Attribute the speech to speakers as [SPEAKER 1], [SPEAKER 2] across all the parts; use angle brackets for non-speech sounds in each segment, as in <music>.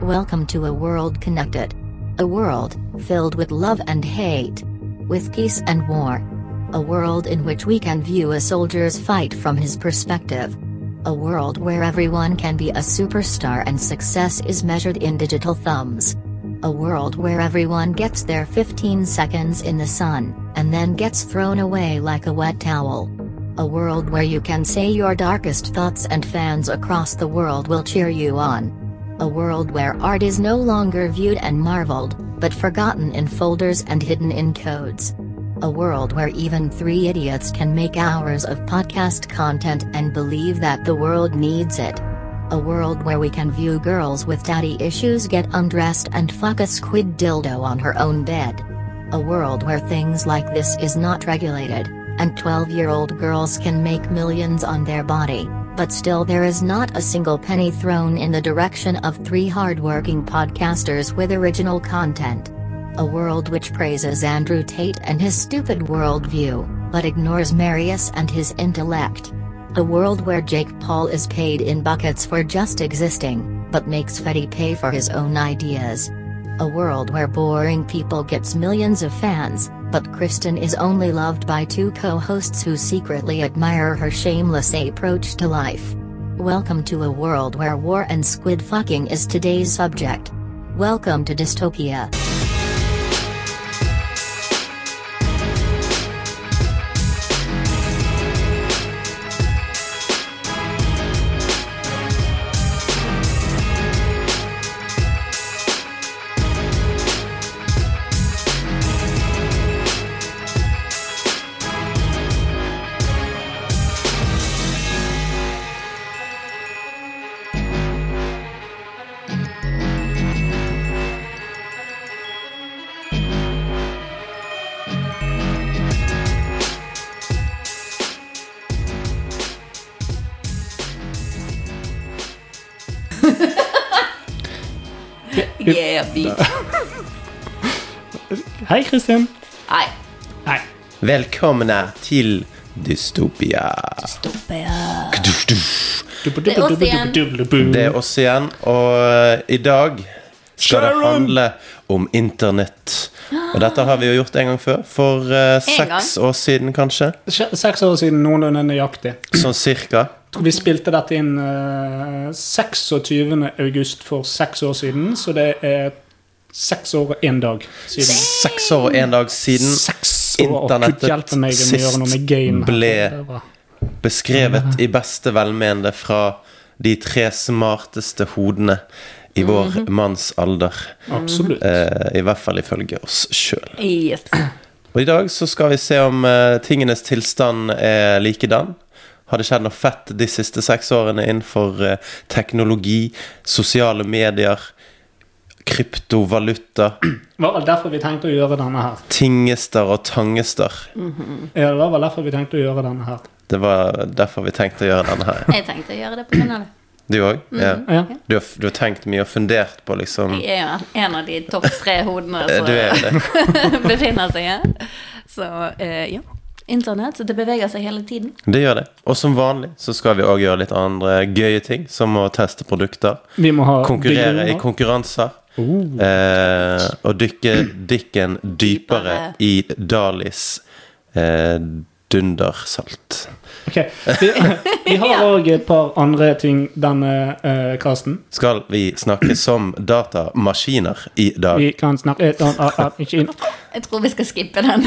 [SPEAKER 1] Welcome to a world connected. A world filled with love and hate. With peace and war. A world in which we can view a soldier's fight from his perspective. A world where everyone can be a superstar and success is measured in digital thumbs. A world where everyone gets their 15 seconds in the sun, and then gets thrown away like a wet towel. A world where you can say your darkest thoughts and fans across the world will cheer you on. A world where art is no longer viewed and marveled, but forgotten in folders and hidden in codes. A world where even three idiots can make hours of podcast content and believe that the world needs it. A world where we can view girls with daddy issues get undressed and fuck a squid dildo on her own bed. A world where things like this is not regulated, and 12 year old girls can make millions on their body, but still there is not a single penny thrown in the direction of three hardworking podcasters with original content. A world which praises Andrew Tate and his stupid worldview, but ignores Marius and his intellect. A world where Jake Paul is paid in buckets for just existing, but makes Fetty pay for his own ideas. A world where boring people gets millions of fans, but Kristen is only loved by two co-hosts who secretly admire her shameless approach to life. Welcome to a world where war and squid fucking is today's subject. Welcome to dystopia.
[SPEAKER 2] Yeah, bitch.
[SPEAKER 3] Hei, Kristin.
[SPEAKER 2] Nei.
[SPEAKER 3] Hei.
[SPEAKER 4] Velkomna til Dystopia.
[SPEAKER 2] Det er oss igjen.
[SPEAKER 4] Det er oss igjen, og i dag skal det
[SPEAKER 3] Sharon!
[SPEAKER 4] handle om internett. Og dette har vi jo gjort en gang før. For eh, seks år siden, kanskje.
[SPEAKER 3] Se- Seks år siden, noenlunde nøyaktig.
[SPEAKER 4] Sånn cirka.
[SPEAKER 3] Jeg tror vi spilte dette inn eh, 26. august for seks år siden, så det er seks år og én dag siden.
[SPEAKER 4] Seks år og én dag siden
[SPEAKER 3] Seks år, og Gud
[SPEAKER 4] internettet
[SPEAKER 3] hjelpe meg om jeg gjør noe med
[SPEAKER 4] sist
[SPEAKER 3] game. her.
[SPEAKER 4] ble
[SPEAKER 3] Det var-
[SPEAKER 4] beskrevet i beste velmenende fra de tre smarteste hodene i vår manns alder.
[SPEAKER 3] Absolutt.
[SPEAKER 4] Eh, I hvert fall ifølge oss sjøl.
[SPEAKER 2] Yes.
[SPEAKER 4] Og i dag så skal vi se om eh, tingenes tilstand er likedan. Har det skjedd noe fett de siste seks årene innenfor eh, teknologi, sosiale medier, kryptovaluta,
[SPEAKER 3] Det var vel derfor vi tenkte å gjøre denne her.
[SPEAKER 4] tingester og tangester?
[SPEAKER 3] Ja, det var vel derfor vi tenkte å gjøre denne her.
[SPEAKER 4] Det var derfor vi tenkte å gjøre denne her.
[SPEAKER 2] Jeg tenkte å gjøre det på grunn av det.
[SPEAKER 4] Du òg? Ja.
[SPEAKER 3] Ja.
[SPEAKER 4] Du, har- du har tenkt mye og fundert på liksom
[SPEAKER 2] Jeg er jo en av de topp tre hodene
[SPEAKER 4] Eh, Du er
[SPEAKER 2] som <laughs>
[SPEAKER 4] det.
[SPEAKER 2] befinner seg her. Så eh, ja. Internett. Så det beveger seg hele tiden.
[SPEAKER 4] Det gjør det. Og som vanlig så skal vi òg gjøre litt andre gøye ting, som å teste produkter.
[SPEAKER 3] Vi må ha
[SPEAKER 4] Konkurrere i
[SPEAKER 3] billioner.
[SPEAKER 4] konkurranser.
[SPEAKER 3] Oh.
[SPEAKER 4] Eh, og dykke dikken
[SPEAKER 2] Dypere.
[SPEAKER 4] dypere i Dalis eh, dundersalt.
[SPEAKER 3] Ok, Vi, <laughs> vi har òg et par andre ting denne eh, casten.
[SPEAKER 4] Skal vi snakke som datamaskiner i dag?
[SPEAKER 3] Vi kan snakke litt om ah, ah, ikke inn.
[SPEAKER 2] Jeg tror vi skal skippe den.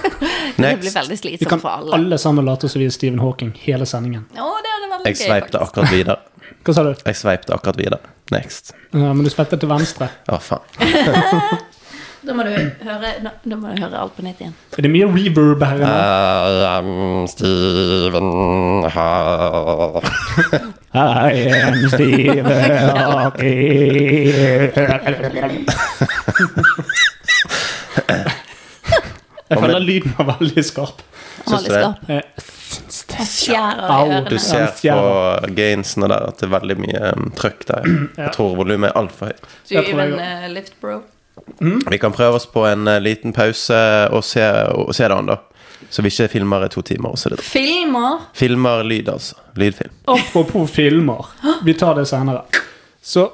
[SPEAKER 2] <laughs> det blir
[SPEAKER 4] Next.
[SPEAKER 2] veldig
[SPEAKER 3] Vi
[SPEAKER 2] slitsomt
[SPEAKER 3] kan
[SPEAKER 2] for alle.
[SPEAKER 3] alle sammen late som vi er Stephen Hawking hele sendingen.
[SPEAKER 2] Å, det hadde vært
[SPEAKER 4] Jeg
[SPEAKER 2] gøy,
[SPEAKER 4] sveipte
[SPEAKER 2] faktisk.
[SPEAKER 4] akkurat videre.
[SPEAKER 3] Hva sa du?
[SPEAKER 4] Jeg sveipte akkurat videre. Next.
[SPEAKER 3] Ja, men du spilte til venstre.
[SPEAKER 4] Å, faen.
[SPEAKER 2] Da må, du høre, da, da må du høre alt på nytt igjen.
[SPEAKER 3] Er det mye reverb her inne?
[SPEAKER 4] Um, Steven har
[SPEAKER 3] Hei, I'm Stephen Hawking. Jeg føler lyden var veldig skarp.
[SPEAKER 2] Han var
[SPEAKER 4] Syns du
[SPEAKER 2] litt
[SPEAKER 4] det?
[SPEAKER 2] skarp.
[SPEAKER 3] Eh,
[SPEAKER 2] Han skjærer i
[SPEAKER 3] Au,
[SPEAKER 2] ørene.
[SPEAKER 4] Du ser
[SPEAKER 3] stjerner.
[SPEAKER 4] på gainsene der at det er veldig mye um, trøkk der. Jeg tror volumet er altfor høyt.
[SPEAKER 2] Du
[SPEAKER 3] Jeg tror jeg-
[SPEAKER 2] even eh, lift, bro.
[SPEAKER 4] Vi kan prøve oss på en eh, liten pause og se, og se det an, da. Så vi ikke filmer i to timer. Også, det.
[SPEAKER 2] Filmer!
[SPEAKER 4] Filmer lyd, altså. Lydfilm.
[SPEAKER 3] Apropos filmer. Vi tar det senere. Så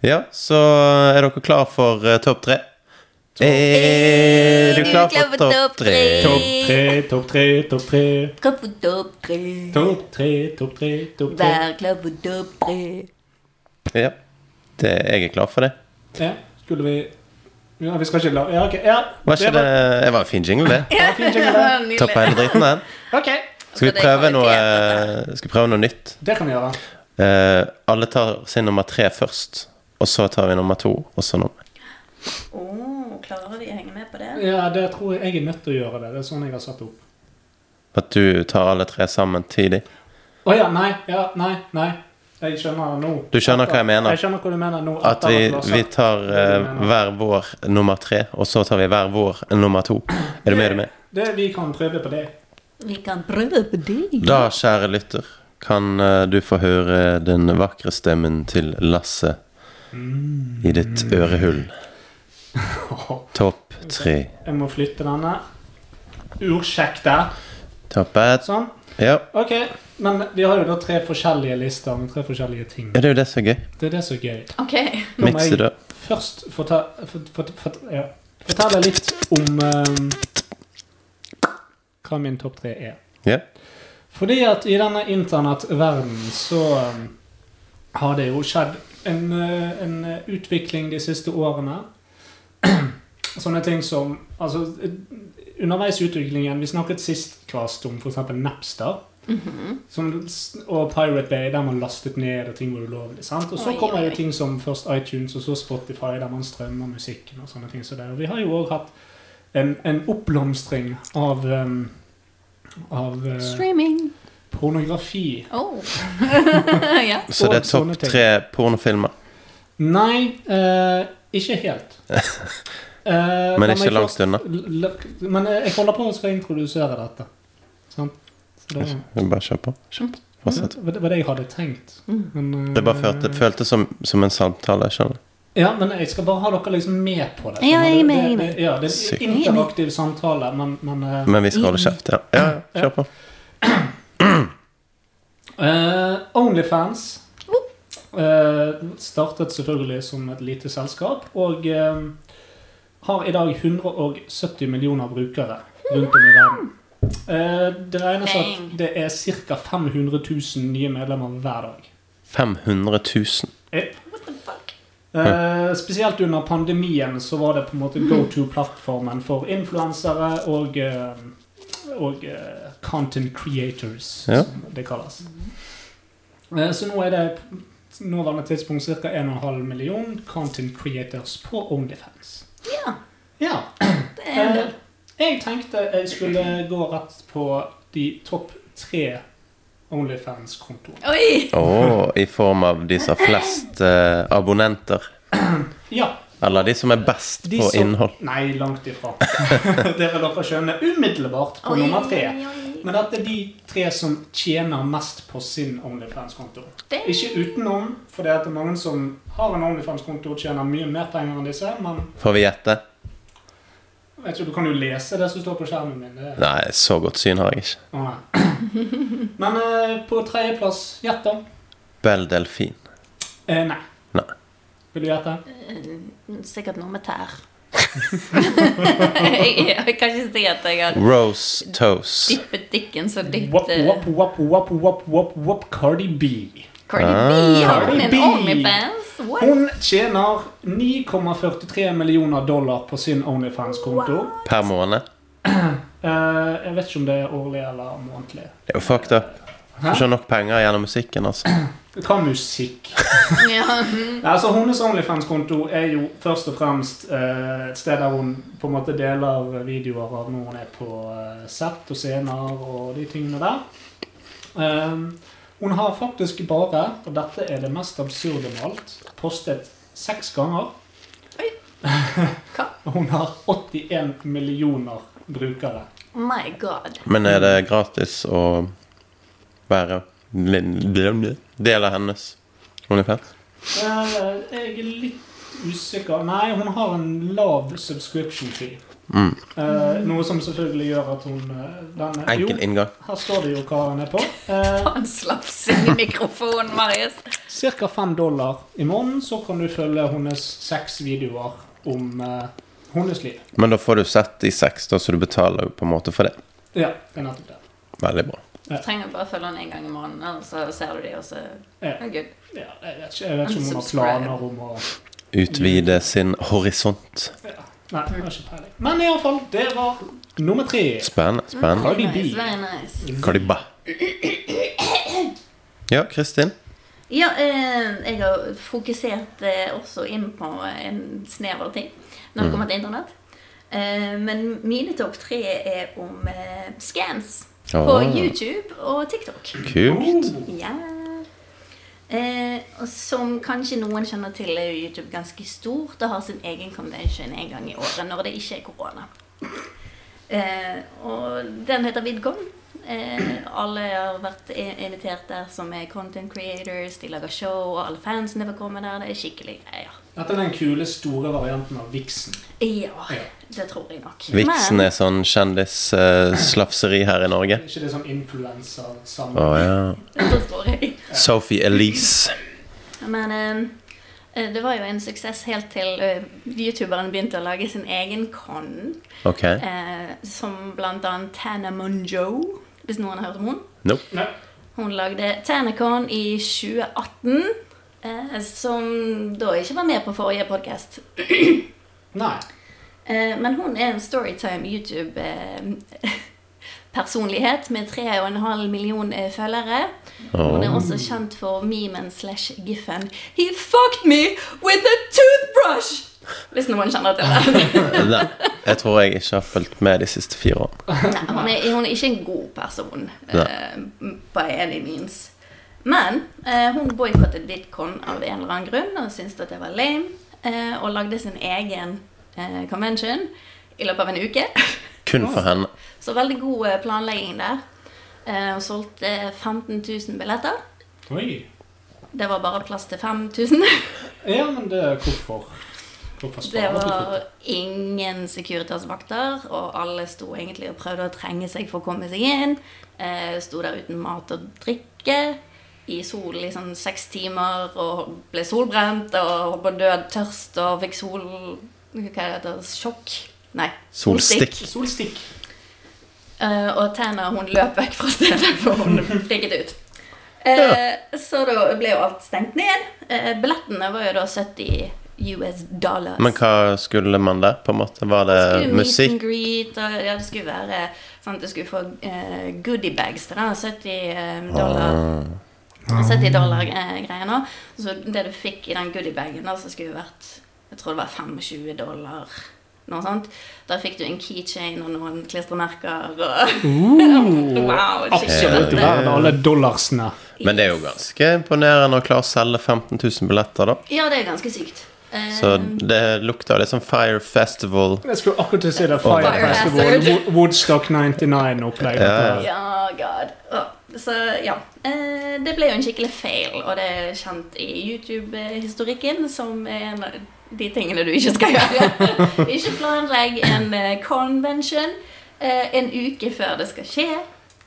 [SPEAKER 4] Ja, så er dere klar for eh, topp tre? Er du klar for topp tre?
[SPEAKER 3] Topp tre, topp tre, topp tre.
[SPEAKER 2] Klar for topp tre.
[SPEAKER 3] Topp tre, topp tre, topp tre.
[SPEAKER 2] Vær klar for topp tre.
[SPEAKER 4] Ja. Det, jeg er klar for det.
[SPEAKER 3] Ja, skulle vi Ja, vi skal ikke la Ja, ok. Ja,
[SPEAKER 4] Var ikke det, det var en fin jingle, det.
[SPEAKER 3] Ja, fin jingle.
[SPEAKER 2] Nydelig.
[SPEAKER 4] Topp hele driten, <laughs> den.
[SPEAKER 3] Ok,
[SPEAKER 4] Skal vi
[SPEAKER 2] det er
[SPEAKER 4] prøve
[SPEAKER 2] kvalitet,
[SPEAKER 4] noe, eh, skal vi prøve noe nytt?
[SPEAKER 3] det kan vi gjøre.
[SPEAKER 4] Eh, alle tar sin nummer tre først, og så tar vi nummer to, og så nummer
[SPEAKER 2] Åh, klarer de å henge med på det?
[SPEAKER 3] Ja, det tror jeg jeg er nødt til å gjøre det. Det er sånn jeg har satt opp.
[SPEAKER 4] At du tar alle tre sammen tidlig.
[SPEAKER 3] Å ja, nei, ja, nei, nei. Jeg skjønner nå.
[SPEAKER 4] Du skjønner hva jeg mener?
[SPEAKER 3] Jeg skjønner hva du mener nå.
[SPEAKER 4] At
[SPEAKER 3] etter
[SPEAKER 4] vi,
[SPEAKER 3] du har sagt-
[SPEAKER 4] vi tar eh, hver vår nummer tre, og så tar vi hver vår nummer to. Er du med, er du med?
[SPEAKER 3] Det, vi kan prøve på det.
[SPEAKER 2] Vi kan prøve på det.
[SPEAKER 4] Da, kjære lytter, kan eh, du få høre den vakre stemmen til Lasse i ditt
[SPEAKER 3] Mm.
[SPEAKER 4] ørehull.
[SPEAKER 3] <laughs>
[SPEAKER 4] Topp tre.
[SPEAKER 3] Jeg må flytte denne. Ursäkta.
[SPEAKER 4] Topp ett.
[SPEAKER 3] Sånn.
[SPEAKER 4] Ja,
[SPEAKER 3] Ok, men vi har jo da tre forskjellige lister med tre forskjellige ting.
[SPEAKER 4] det er jo det som er gøy.
[SPEAKER 3] Det er det som er gøy.
[SPEAKER 2] Ok.
[SPEAKER 3] Da må
[SPEAKER 4] Mikse
[SPEAKER 3] jeg
[SPEAKER 4] det opp.
[SPEAKER 3] først forta, fort- fort- fort- ja. fortelle litt om ehm, eh, hva min topp tre er.
[SPEAKER 4] Ja.
[SPEAKER 3] Fordi at i denne internettverdenen så eh, har det jo skjedd en, eh, en eh, utvikling de siste årene. <clears throat> Sånne ting som Altså, eh, underveis i utviklingen Vi snakket sist kvast om f.eks. Napster.
[SPEAKER 2] Mhm.
[SPEAKER 3] som, og Pirate Bay, der man lastet ned og ting var ulovlig. sant? Og så
[SPEAKER 2] Oi,
[SPEAKER 3] kommer
[SPEAKER 2] oi.
[SPEAKER 3] jo ting som først iTunes og så Spotify, der man strømmer musikken og sånne ting. Så der. Og vi har jo òg hatt en, en oppblomstring av um, av eh,
[SPEAKER 2] Streaming.
[SPEAKER 3] pornografi.
[SPEAKER 2] <laughs> Oh. ja.
[SPEAKER 4] Så det er
[SPEAKER 3] Og sånne
[SPEAKER 4] topp
[SPEAKER 3] ting.
[SPEAKER 4] tre pornofilmer.
[SPEAKER 3] Nei, eh, ikke helt.
[SPEAKER 4] <laughs>
[SPEAKER 3] Eh,
[SPEAKER 4] Men
[SPEAKER 3] la
[SPEAKER 4] ikke
[SPEAKER 3] meg
[SPEAKER 4] langt
[SPEAKER 3] først-
[SPEAKER 4] unna.
[SPEAKER 3] l- l- Men eh, jeg holder på å skal introdusere dette. Sant? Så det,
[SPEAKER 4] <laughs> Vi Bare kjør på. Kjør på. Mm. Fortsett.
[SPEAKER 3] det var det jeg hadde tenkt.
[SPEAKER 2] Mm.
[SPEAKER 3] Men,
[SPEAKER 4] Det bare
[SPEAKER 3] eh,
[SPEAKER 4] følte- føltes som, som en samtale. skjønner du?
[SPEAKER 3] Ja, men jeg skal bare ha dere liksom med på det.
[SPEAKER 2] Ja, jeg er med,
[SPEAKER 3] Det-
[SPEAKER 2] jeg er med.
[SPEAKER 3] det- Ja, det er
[SPEAKER 4] Sykt.
[SPEAKER 3] en interaktiv samtale, men, men eh,
[SPEAKER 4] Men vi skal holde kjeft. Ja, ja ja, kjør på.
[SPEAKER 3] eh, Onlyfans eh, startet selvfølgelig som et lite selskap, og eh, har i dag 170 millioner brukere rundt om i verden. Eh, det regnes
[SPEAKER 2] Bang.
[SPEAKER 3] at det er ca. 500 000 nye medlemmer hver dag.
[SPEAKER 4] 500 000.
[SPEAKER 3] Yep.
[SPEAKER 2] What the fuck?
[SPEAKER 3] Eh, spesielt under pandemien så var det på en måte go-to-plattformen for influensere og, eh, og eh, content creators,
[SPEAKER 4] Ja.
[SPEAKER 3] som det kalles. Eh, så nå er det på nåværende tidspunkt ca. 1,5 million content creators på OnlyFans.
[SPEAKER 2] Ja,
[SPEAKER 3] Ja. eh,
[SPEAKER 2] det er en del.
[SPEAKER 3] jeg tenkte jeg skulle gå rett på de topp tre OnlyFans-kontoene.
[SPEAKER 2] Oi!
[SPEAKER 4] Og i form av de som har flest eh, abonnenter.
[SPEAKER 3] Ja.
[SPEAKER 4] Eller de som er best
[SPEAKER 3] De
[SPEAKER 4] på
[SPEAKER 3] som-
[SPEAKER 4] innhold.
[SPEAKER 3] Nei, langt ifra. <laughs> det vil dere skjønne umiddelbart på
[SPEAKER 2] Oi,
[SPEAKER 3] nummer tre.
[SPEAKER 2] oi, oi.
[SPEAKER 3] Men dette er de tre som tjener mest på sin OnlyFans-konto.
[SPEAKER 2] Det-
[SPEAKER 3] Ikke utenom, for det er at det er mange som har en OnlyFans-konto og tjener mye mer penger enn disse. Men
[SPEAKER 4] Får vi gjette?
[SPEAKER 3] jeg tror du kan jo lese det som står på skjermen min. Det. er-
[SPEAKER 4] Nei, så godt syn har jeg ikke.
[SPEAKER 3] Å, nei. <laughs> Men eh, på tredjeplass, gjett da.
[SPEAKER 4] Bell Delfin.
[SPEAKER 3] Eh, nei.
[SPEAKER 4] Nei.
[SPEAKER 3] Vil du gjette?
[SPEAKER 2] Eh, Sikkert noe med tær. <laughs> jeg, jeg kan ikke si at jeg har
[SPEAKER 4] Rose Toes.
[SPEAKER 2] dyppet dikken så dypt.
[SPEAKER 3] Wop,
[SPEAKER 2] eh,
[SPEAKER 3] wop, wop, wop, wop, wop, wop, Cardi B.
[SPEAKER 2] Ah. Cardi B har
[SPEAKER 3] Cardi
[SPEAKER 2] min
[SPEAKER 3] B.
[SPEAKER 2] Onlyfans. What?
[SPEAKER 3] Hun tjener 9,43 millioner dollar på sin OnlyFans-konto.
[SPEAKER 4] Per måned.
[SPEAKER 3] Eh, jeg vet ikke om det er årlig eller månedlig.
[SPEAKER 4] Det er jo fucked up. Får ikke nok penger gjennom musikken, altså.
[SPEAKER 3] Hva musikk?
[SPEAKER 2] Ja.
[SPEAKER 3] altså, Hennes Onlyfans-konto er jo først og fremst eh, et sted der hun på en måte deler videoer av når hun er på eh, sett og scener og de tingene der. Ehm, hun har faktisk bare, og dette er det mest absurde med alt, postet seks ganger. <laughs>
[SPEAKER 2] Hva?
[SPEAKER 3] Og hun har 81 millioner brukere.
[SPEAKER 2] My god.
[SPEAKER 4] Men er det gratis å være lin- del av hennes OnlyFans?
[SPEAKER 3] Eh, jeg er litt usikker Nei, hun har en lav subscription fee.
[SPEAKER 4] Mm.
[SPEAKER 3] Eh, noe som selvfølgelig gjør at hun eh, den,
[SPEAKER 4] Enkel
[SPEAKER 3] Jo,
[SPEAKER 4] inngang.
[SPEAKER 3] her står det jo hva han er på. Eh,
[SPEAKER 2] Han slafs inn i mikrofonen, Marius.
[SPEAKER 3] Cirka 5 dollar i måneden så kan du følge hennes seks videoer om eh, hennes liv.
[SPEAKER 4] Men da får du sett de seks, da, så du betaler jo på en måte for det.
[SPEAKER 3] Ja, det er nettopp det.
[SPEAKER 4] Veldig bra.
[SPEAKER 2] Du trenger bare følge han en gang i måneden, og så ser du de, og så
[SPEAKER 3] Ja.
[SPEAKER 2] oh, good.
[SPEAKER 3] Ja, jeg, vet ikke, jeg vet ikke om hun har
[SPEAKER 2] Unsubscribe.
[SPEAKER 3] planer om å
[SPEAKER 4] Utvide sin horisont.
[SPEAKER 3] ja. Nei, jeg har ikke peiling. Men iallfall, det var nummer tre.
[SPEAKER 4] Spennende. spennende.
[SPEAKER 3] Cardi B.
[SPEAKER 2] Nice, very nice.
[SPEAKER 4] Kaliba. Ja, Kristin.
[SPEAKER 2] Ja, eh, jeg har fokusert eh, også inn på eh, en snever ting når det kommer til internett. Eh, men mine topp tre er om eh, scans på
[SPEAKER 4] Åh.
[SPEAKER 2] YouTube og TikTok.
[SPEAKER 4] Kult.
[SPEAKER 3] Oh,
[SPEAKER 2] Ja. Eh, og som kanskje noen kjenner til, er jo YouTube ganske stort og har sin egen convention en gang i året når det ikke er korona. Eh, og den heter VidCon. Eh, alle har vært i- invitert der som er content creators, de lager show, og alle fansene får komme der. Det er skikkelig greier.
[SPEAKER 3] Dette er den kule, store varianten av Vixen.
[SPEAKER 2] Ja, det tror jeg nok.
[SPEAKER 4] Vixen
[SPEAKER 2] Men-
[SPEAKER 4] er sånn kjendisslafseri her i Norge.
[SPEAKER 3] Er Ikke det sånn influenser
[SPEAKER 4] Å
[SPEAKER 3] sammen.
[SPEAKER 4] ja.
[SPEAKER 2] Det tror jeg.
[SPEAKER 4] Sophie Elise.
[SPEAKER 2] Men eh, eh, det var jo en suksess helt til eh, youtuberen begynte å lage sin egen con.
[SPEAKER 4] Ok.
[SPEAKER 2] Eh, som blant annet Tana Monjo, hvis noen har hørt om henne.
[SPEAKER 4] Nope.
[SPEAKER 3] Nei,
[SPEAKER 2] Hun lagde Tanacon i 2018, eh, som da ikke var med på forrige podkast.
[SPEAKER 3] Nei.
[SPEAKER 2] Eh, men hun er en Storytime <laughs> YouTube-personlighet med 3,5 million eh, følgere. Hun er
[SPEAKER 4] Åh.
[SPEAKER 2] også kjent for memen slash giffen 'He fucked me with a toothbrush'! Hvis noen kjenner til det.
[SPEAKER 4] Nei, jeg tror jeg ikke har fulgt med de siste fire årene.
[SPEAKER 2] Nei, hun er, hun er ikke en god person,
[SPEAKER 4] Nei.
[SPEAKER 2] eh, by any means. Men eh, hun boikottet VidCon av en eller annen grunn og syntes at det var lame, eh, og lagde sin egen eh, convention i løpet av en uke.
[SPEAKER 4] Kun for henne.
[SPEAKER 2] Så veldig god eh, planlegging der. Eh, hun solgte 15 000 billetter.
[SPEAKER 3] Oi.
[SPEAKER 2] Det var bare plass til 5000.
[SPEAKER 3] Ja, men det hvorfor? Hvorfor
[SPEAKER 2] Det
[SPEAKER 3] sparer du på
[SPEAKER 2] var ingen Securitas-vakter, og alle sto egentlig og prøvde å trenge seg for å komme seg inn. Eh, Sto der uten mat og drikke i solen i sånn seks timer og ble solbrent og holdt på å dø av tørst og fikk sol... Hva heter det? Sjokk? Nei.
[SPEAKER 4] Solstikk.
[SPEAKER 3] Solstikk.
[SPEAKER 2] Eh, og Tana hun løp vekk fra stedet, <laughs> for hun frikket ut. Eh, Så da ble jo alt stengt ned. Eh, billettene var jo da 70 US dollars.
[SPEAKER 4] Men hva skulle man der, på en måte? Var det
[SPEAKER 2] skulle meet and
[SPEAKER 4] Eh, musikk?
[SPEAKER 2] greet, og ja, det skulle være sånn at du skulle få eh, goodiebags til den 70 eh, dollar.
[SPEAKER 4] Ah.
[SPEAKER 2] 70 dollar eh, greia nå. Så det du fikk i den goodiebagen, da, så skulle jo vært Jeg tror det var 25 dollar. Noe sånt. Da fikk du en keychain og noen klistremerker og <laughs> Uh. Wow!
[SPEAKER 3] Absolutt
[SPEAKER 4] Ja.
[SPEAKER 3] verdt alle dollarsene.
[SPEAKER 4] Eh, Men det er jo ganske imponerende å klare å selge 15 000 billetter, da.
[SPEAKER 2] Ja, det er ganske sykt. Eh,
[SPEAKER 4] Så det lukter litt sånn Fire Festival.
[SPEAKER 3] Jeg skulle akkurat til å si det. Fire,
[SPEAKER 2] Fire
[SPEAKER 3] Festival,
[SPEAKER 2] Hazard.
[SPEAKER 3] Wo- Woodstock 99-opplegg.
[SPEAKER 4] Ja,
[SPEAKER 2] Ja, god. Å, Så ja. Eh, Det ble jo en skikkelig fail, og det er kjent i YouTube-historikken som er en av de tingene du ikke skal gjøre. ikke planlegg en eh, convention eh, en uke før det skal skje,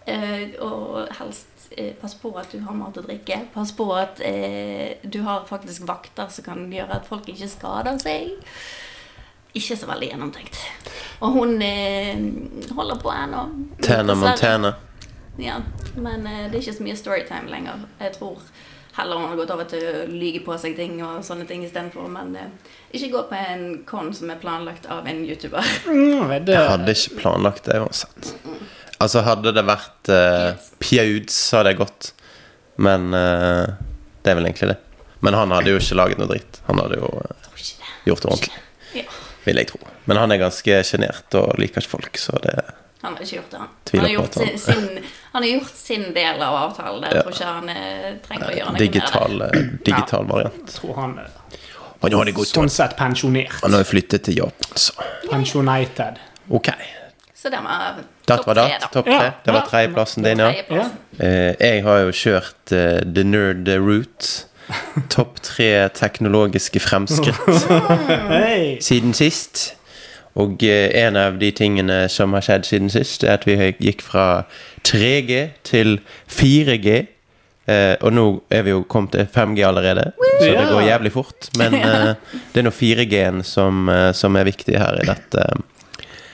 [SPEAKER 2] eh, og helst eh, Pass på at du har mat og drikke. Pass på at eh, du har faktisk vakter som kan gjøre at folk ikke skader seg. Ikke så veldig gjennomtenkt. Og hun eh, holder på ennå.
[SPEAKER 4] Tana
[SPEAKER 2] Dessverre.
[SPEAKER 4] Montana.
[SPEAKER 2] Ja, men eh, det er ikke så mye storytime lenger. Jeg tror heller hun har gått over til å lyge på seg ting og sånne ting istedenfor. Men eh, ikke gå på en con som er planlagt av en YouTuber.
[SPEAKER 3] Mm, det
[SPEAKER 4] Jeg hadde ikke planlagt det uansett. Altså, hadde det vært uh, Pjauds, så hadde jeg gått. Men eh, det er vel egentlig det. Men han hadde jo ikke laget noe dritt. Han hadde jo eh,
[SPEAKER 2] Jeg tror ikke det.
[SPEAKER 4] gjort det ordentlig,
[SPEAKER 2] Ja.
[SPEAKER 4] vil jeg tro. Men han er ganske sjenert og liker ikke folk, så det
[SPEAKER 2] Han har ikke gjort det, han. Han
[SPEAKER 4] Tviler
[SPEAKER 2] har
[SPEAKER 4] på at
[SPEAKER 2] gjort, sin,
[SPEAKER 4] han-
[SPEAKER 2] sin, han har gjort sin del av avtalen. Jeg tror ikke han eh, trenger å gjøre noe med det.
[SPEAKER 4] digital, eh, digital variant.
[SPEAKER 3] tror han er
[SPEAKER 4] Han hadde gått
[SPEAKER 3] sånn sett pensjonert.
[SPEAKER 4] Han har jo flyttet til Japan, så
[SPEAKER 3] Pensjonated.
[SPEAKER 4] OK.
[SPEAKER 2] Så det var
[SPEAKER 4] Det
[SPEAKER 2] topp
[SPEAKER 4] var
[SPEAKER 2] tre,
[SPEAKER 4] det.
[SPEAKER 2] da.
[SPEAKER 4] Topp tre.
[SPEAKER 3] Ja,
[SPEAKER 4] Det var
[SPEAKER 3] ja.
[SPEAKER 4] tredjeplassen din, ja.
[SPEAKER 3] Ja.
[SPEAKER 2] Tredjeplass.
[SPEAKER 4] Eh, jeg har jo kjørt eh, The Nerd
[SPEAKER 3] <laughs>
[SPEAKER 4] Route.
[SPEAKER 3] <laughs> Mm.
[SPEAKER 4] Topp tre teknologiske fremskritt
[SPEAKER 3] Hei!
[SPEAKER 4] siden sist. Og eh, en av de tingene som har skjedd siden sist, er at vi høy- gikk fra 3G til 4G. Eh, og nå er vi jo kommet til 5G allerede, så det
[SPEAKER 3] Ja.
[SPEAKER 4] går jævlig fort.
[SPEAKER 3] <laughs>
[SPEAKER 4] Men eh, det er nå 4G-en som, eh, som er viktig her i dette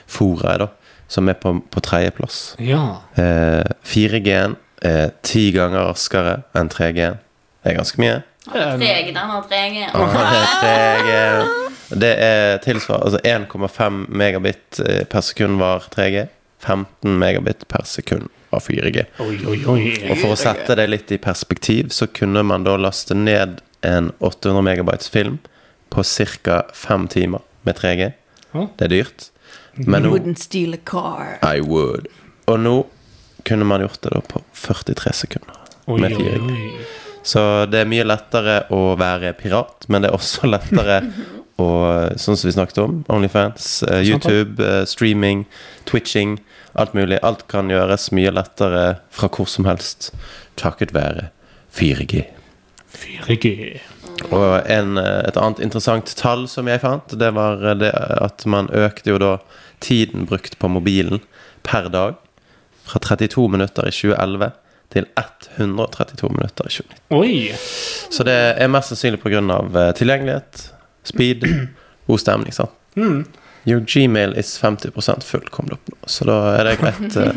[SPEAKER 4] foraet, da. Som er på, på tredjeplass.
[SPEAKER 3] Ja.
[SPEAKER 4] Eh, 4G-en er ti ganger raskere enn 3G-en. Det er ganske mye.
[SPEAKER 3] Det er en-
[SPEAKER 2] Treg, den har trege.
[SPEAKER 4] Og <laughs> det er 3G. Det er tilsvar, altså 1,5 megabit eh, per sekund var 3G. 15 megabit per sekund var 4G.
[SPEAKER 3] Oi, oi, oi.
[SPEAKER 4] Og for å sette det litt i perspektiv, så kunne man da laste ned en 800 megabytes film på ca. 5 timer med 3G.
[SPEAKER 3] Å.
[SPEAKER 4] Det er dyrt. Men nå
[SPEAKER 5] Wouldn't steal a car.
[SPEAKER 4] I would. Og nå kunne man gjort det da på 43 sekunder.
[SPEAKER 3] Oi,
[SPEAKER 4] med
[SPEAKER 3] oi,
[SPEAKER 4] 4G.
[SPEAKER 3] oi.
[SPEAKER 4] Så det er mye lettere å være pirat, men det er også <laughs> lettere å Sånn som vi snakket om. Onlyfans, eh, YouTube, eh, streaming, twitching. Alt mulig. Alt kan gjøres mye lettere fra hvor som helst takket være 4G.
[SPEAKER 3] 4G.
[SPEAKER 4] Og en, eh, et annet interessant tall som jeg fant, det var eh, det at man økte jo da tiden brukt på mobilen per dag fra 32 minutter i 2011 til 132 minutter i 2019.
[SPEAKER 3] Oi.
[SPEAKER 4] Så det er mest sannsynlig pga. eh, tilgjengelighet, speed, <clears throat> god stemning. sant?
[SPEAKER 3] Mm.
[SPEAKER 4] Your Gmail is 50 full, kom det opp nå. Så da er det greit. eh,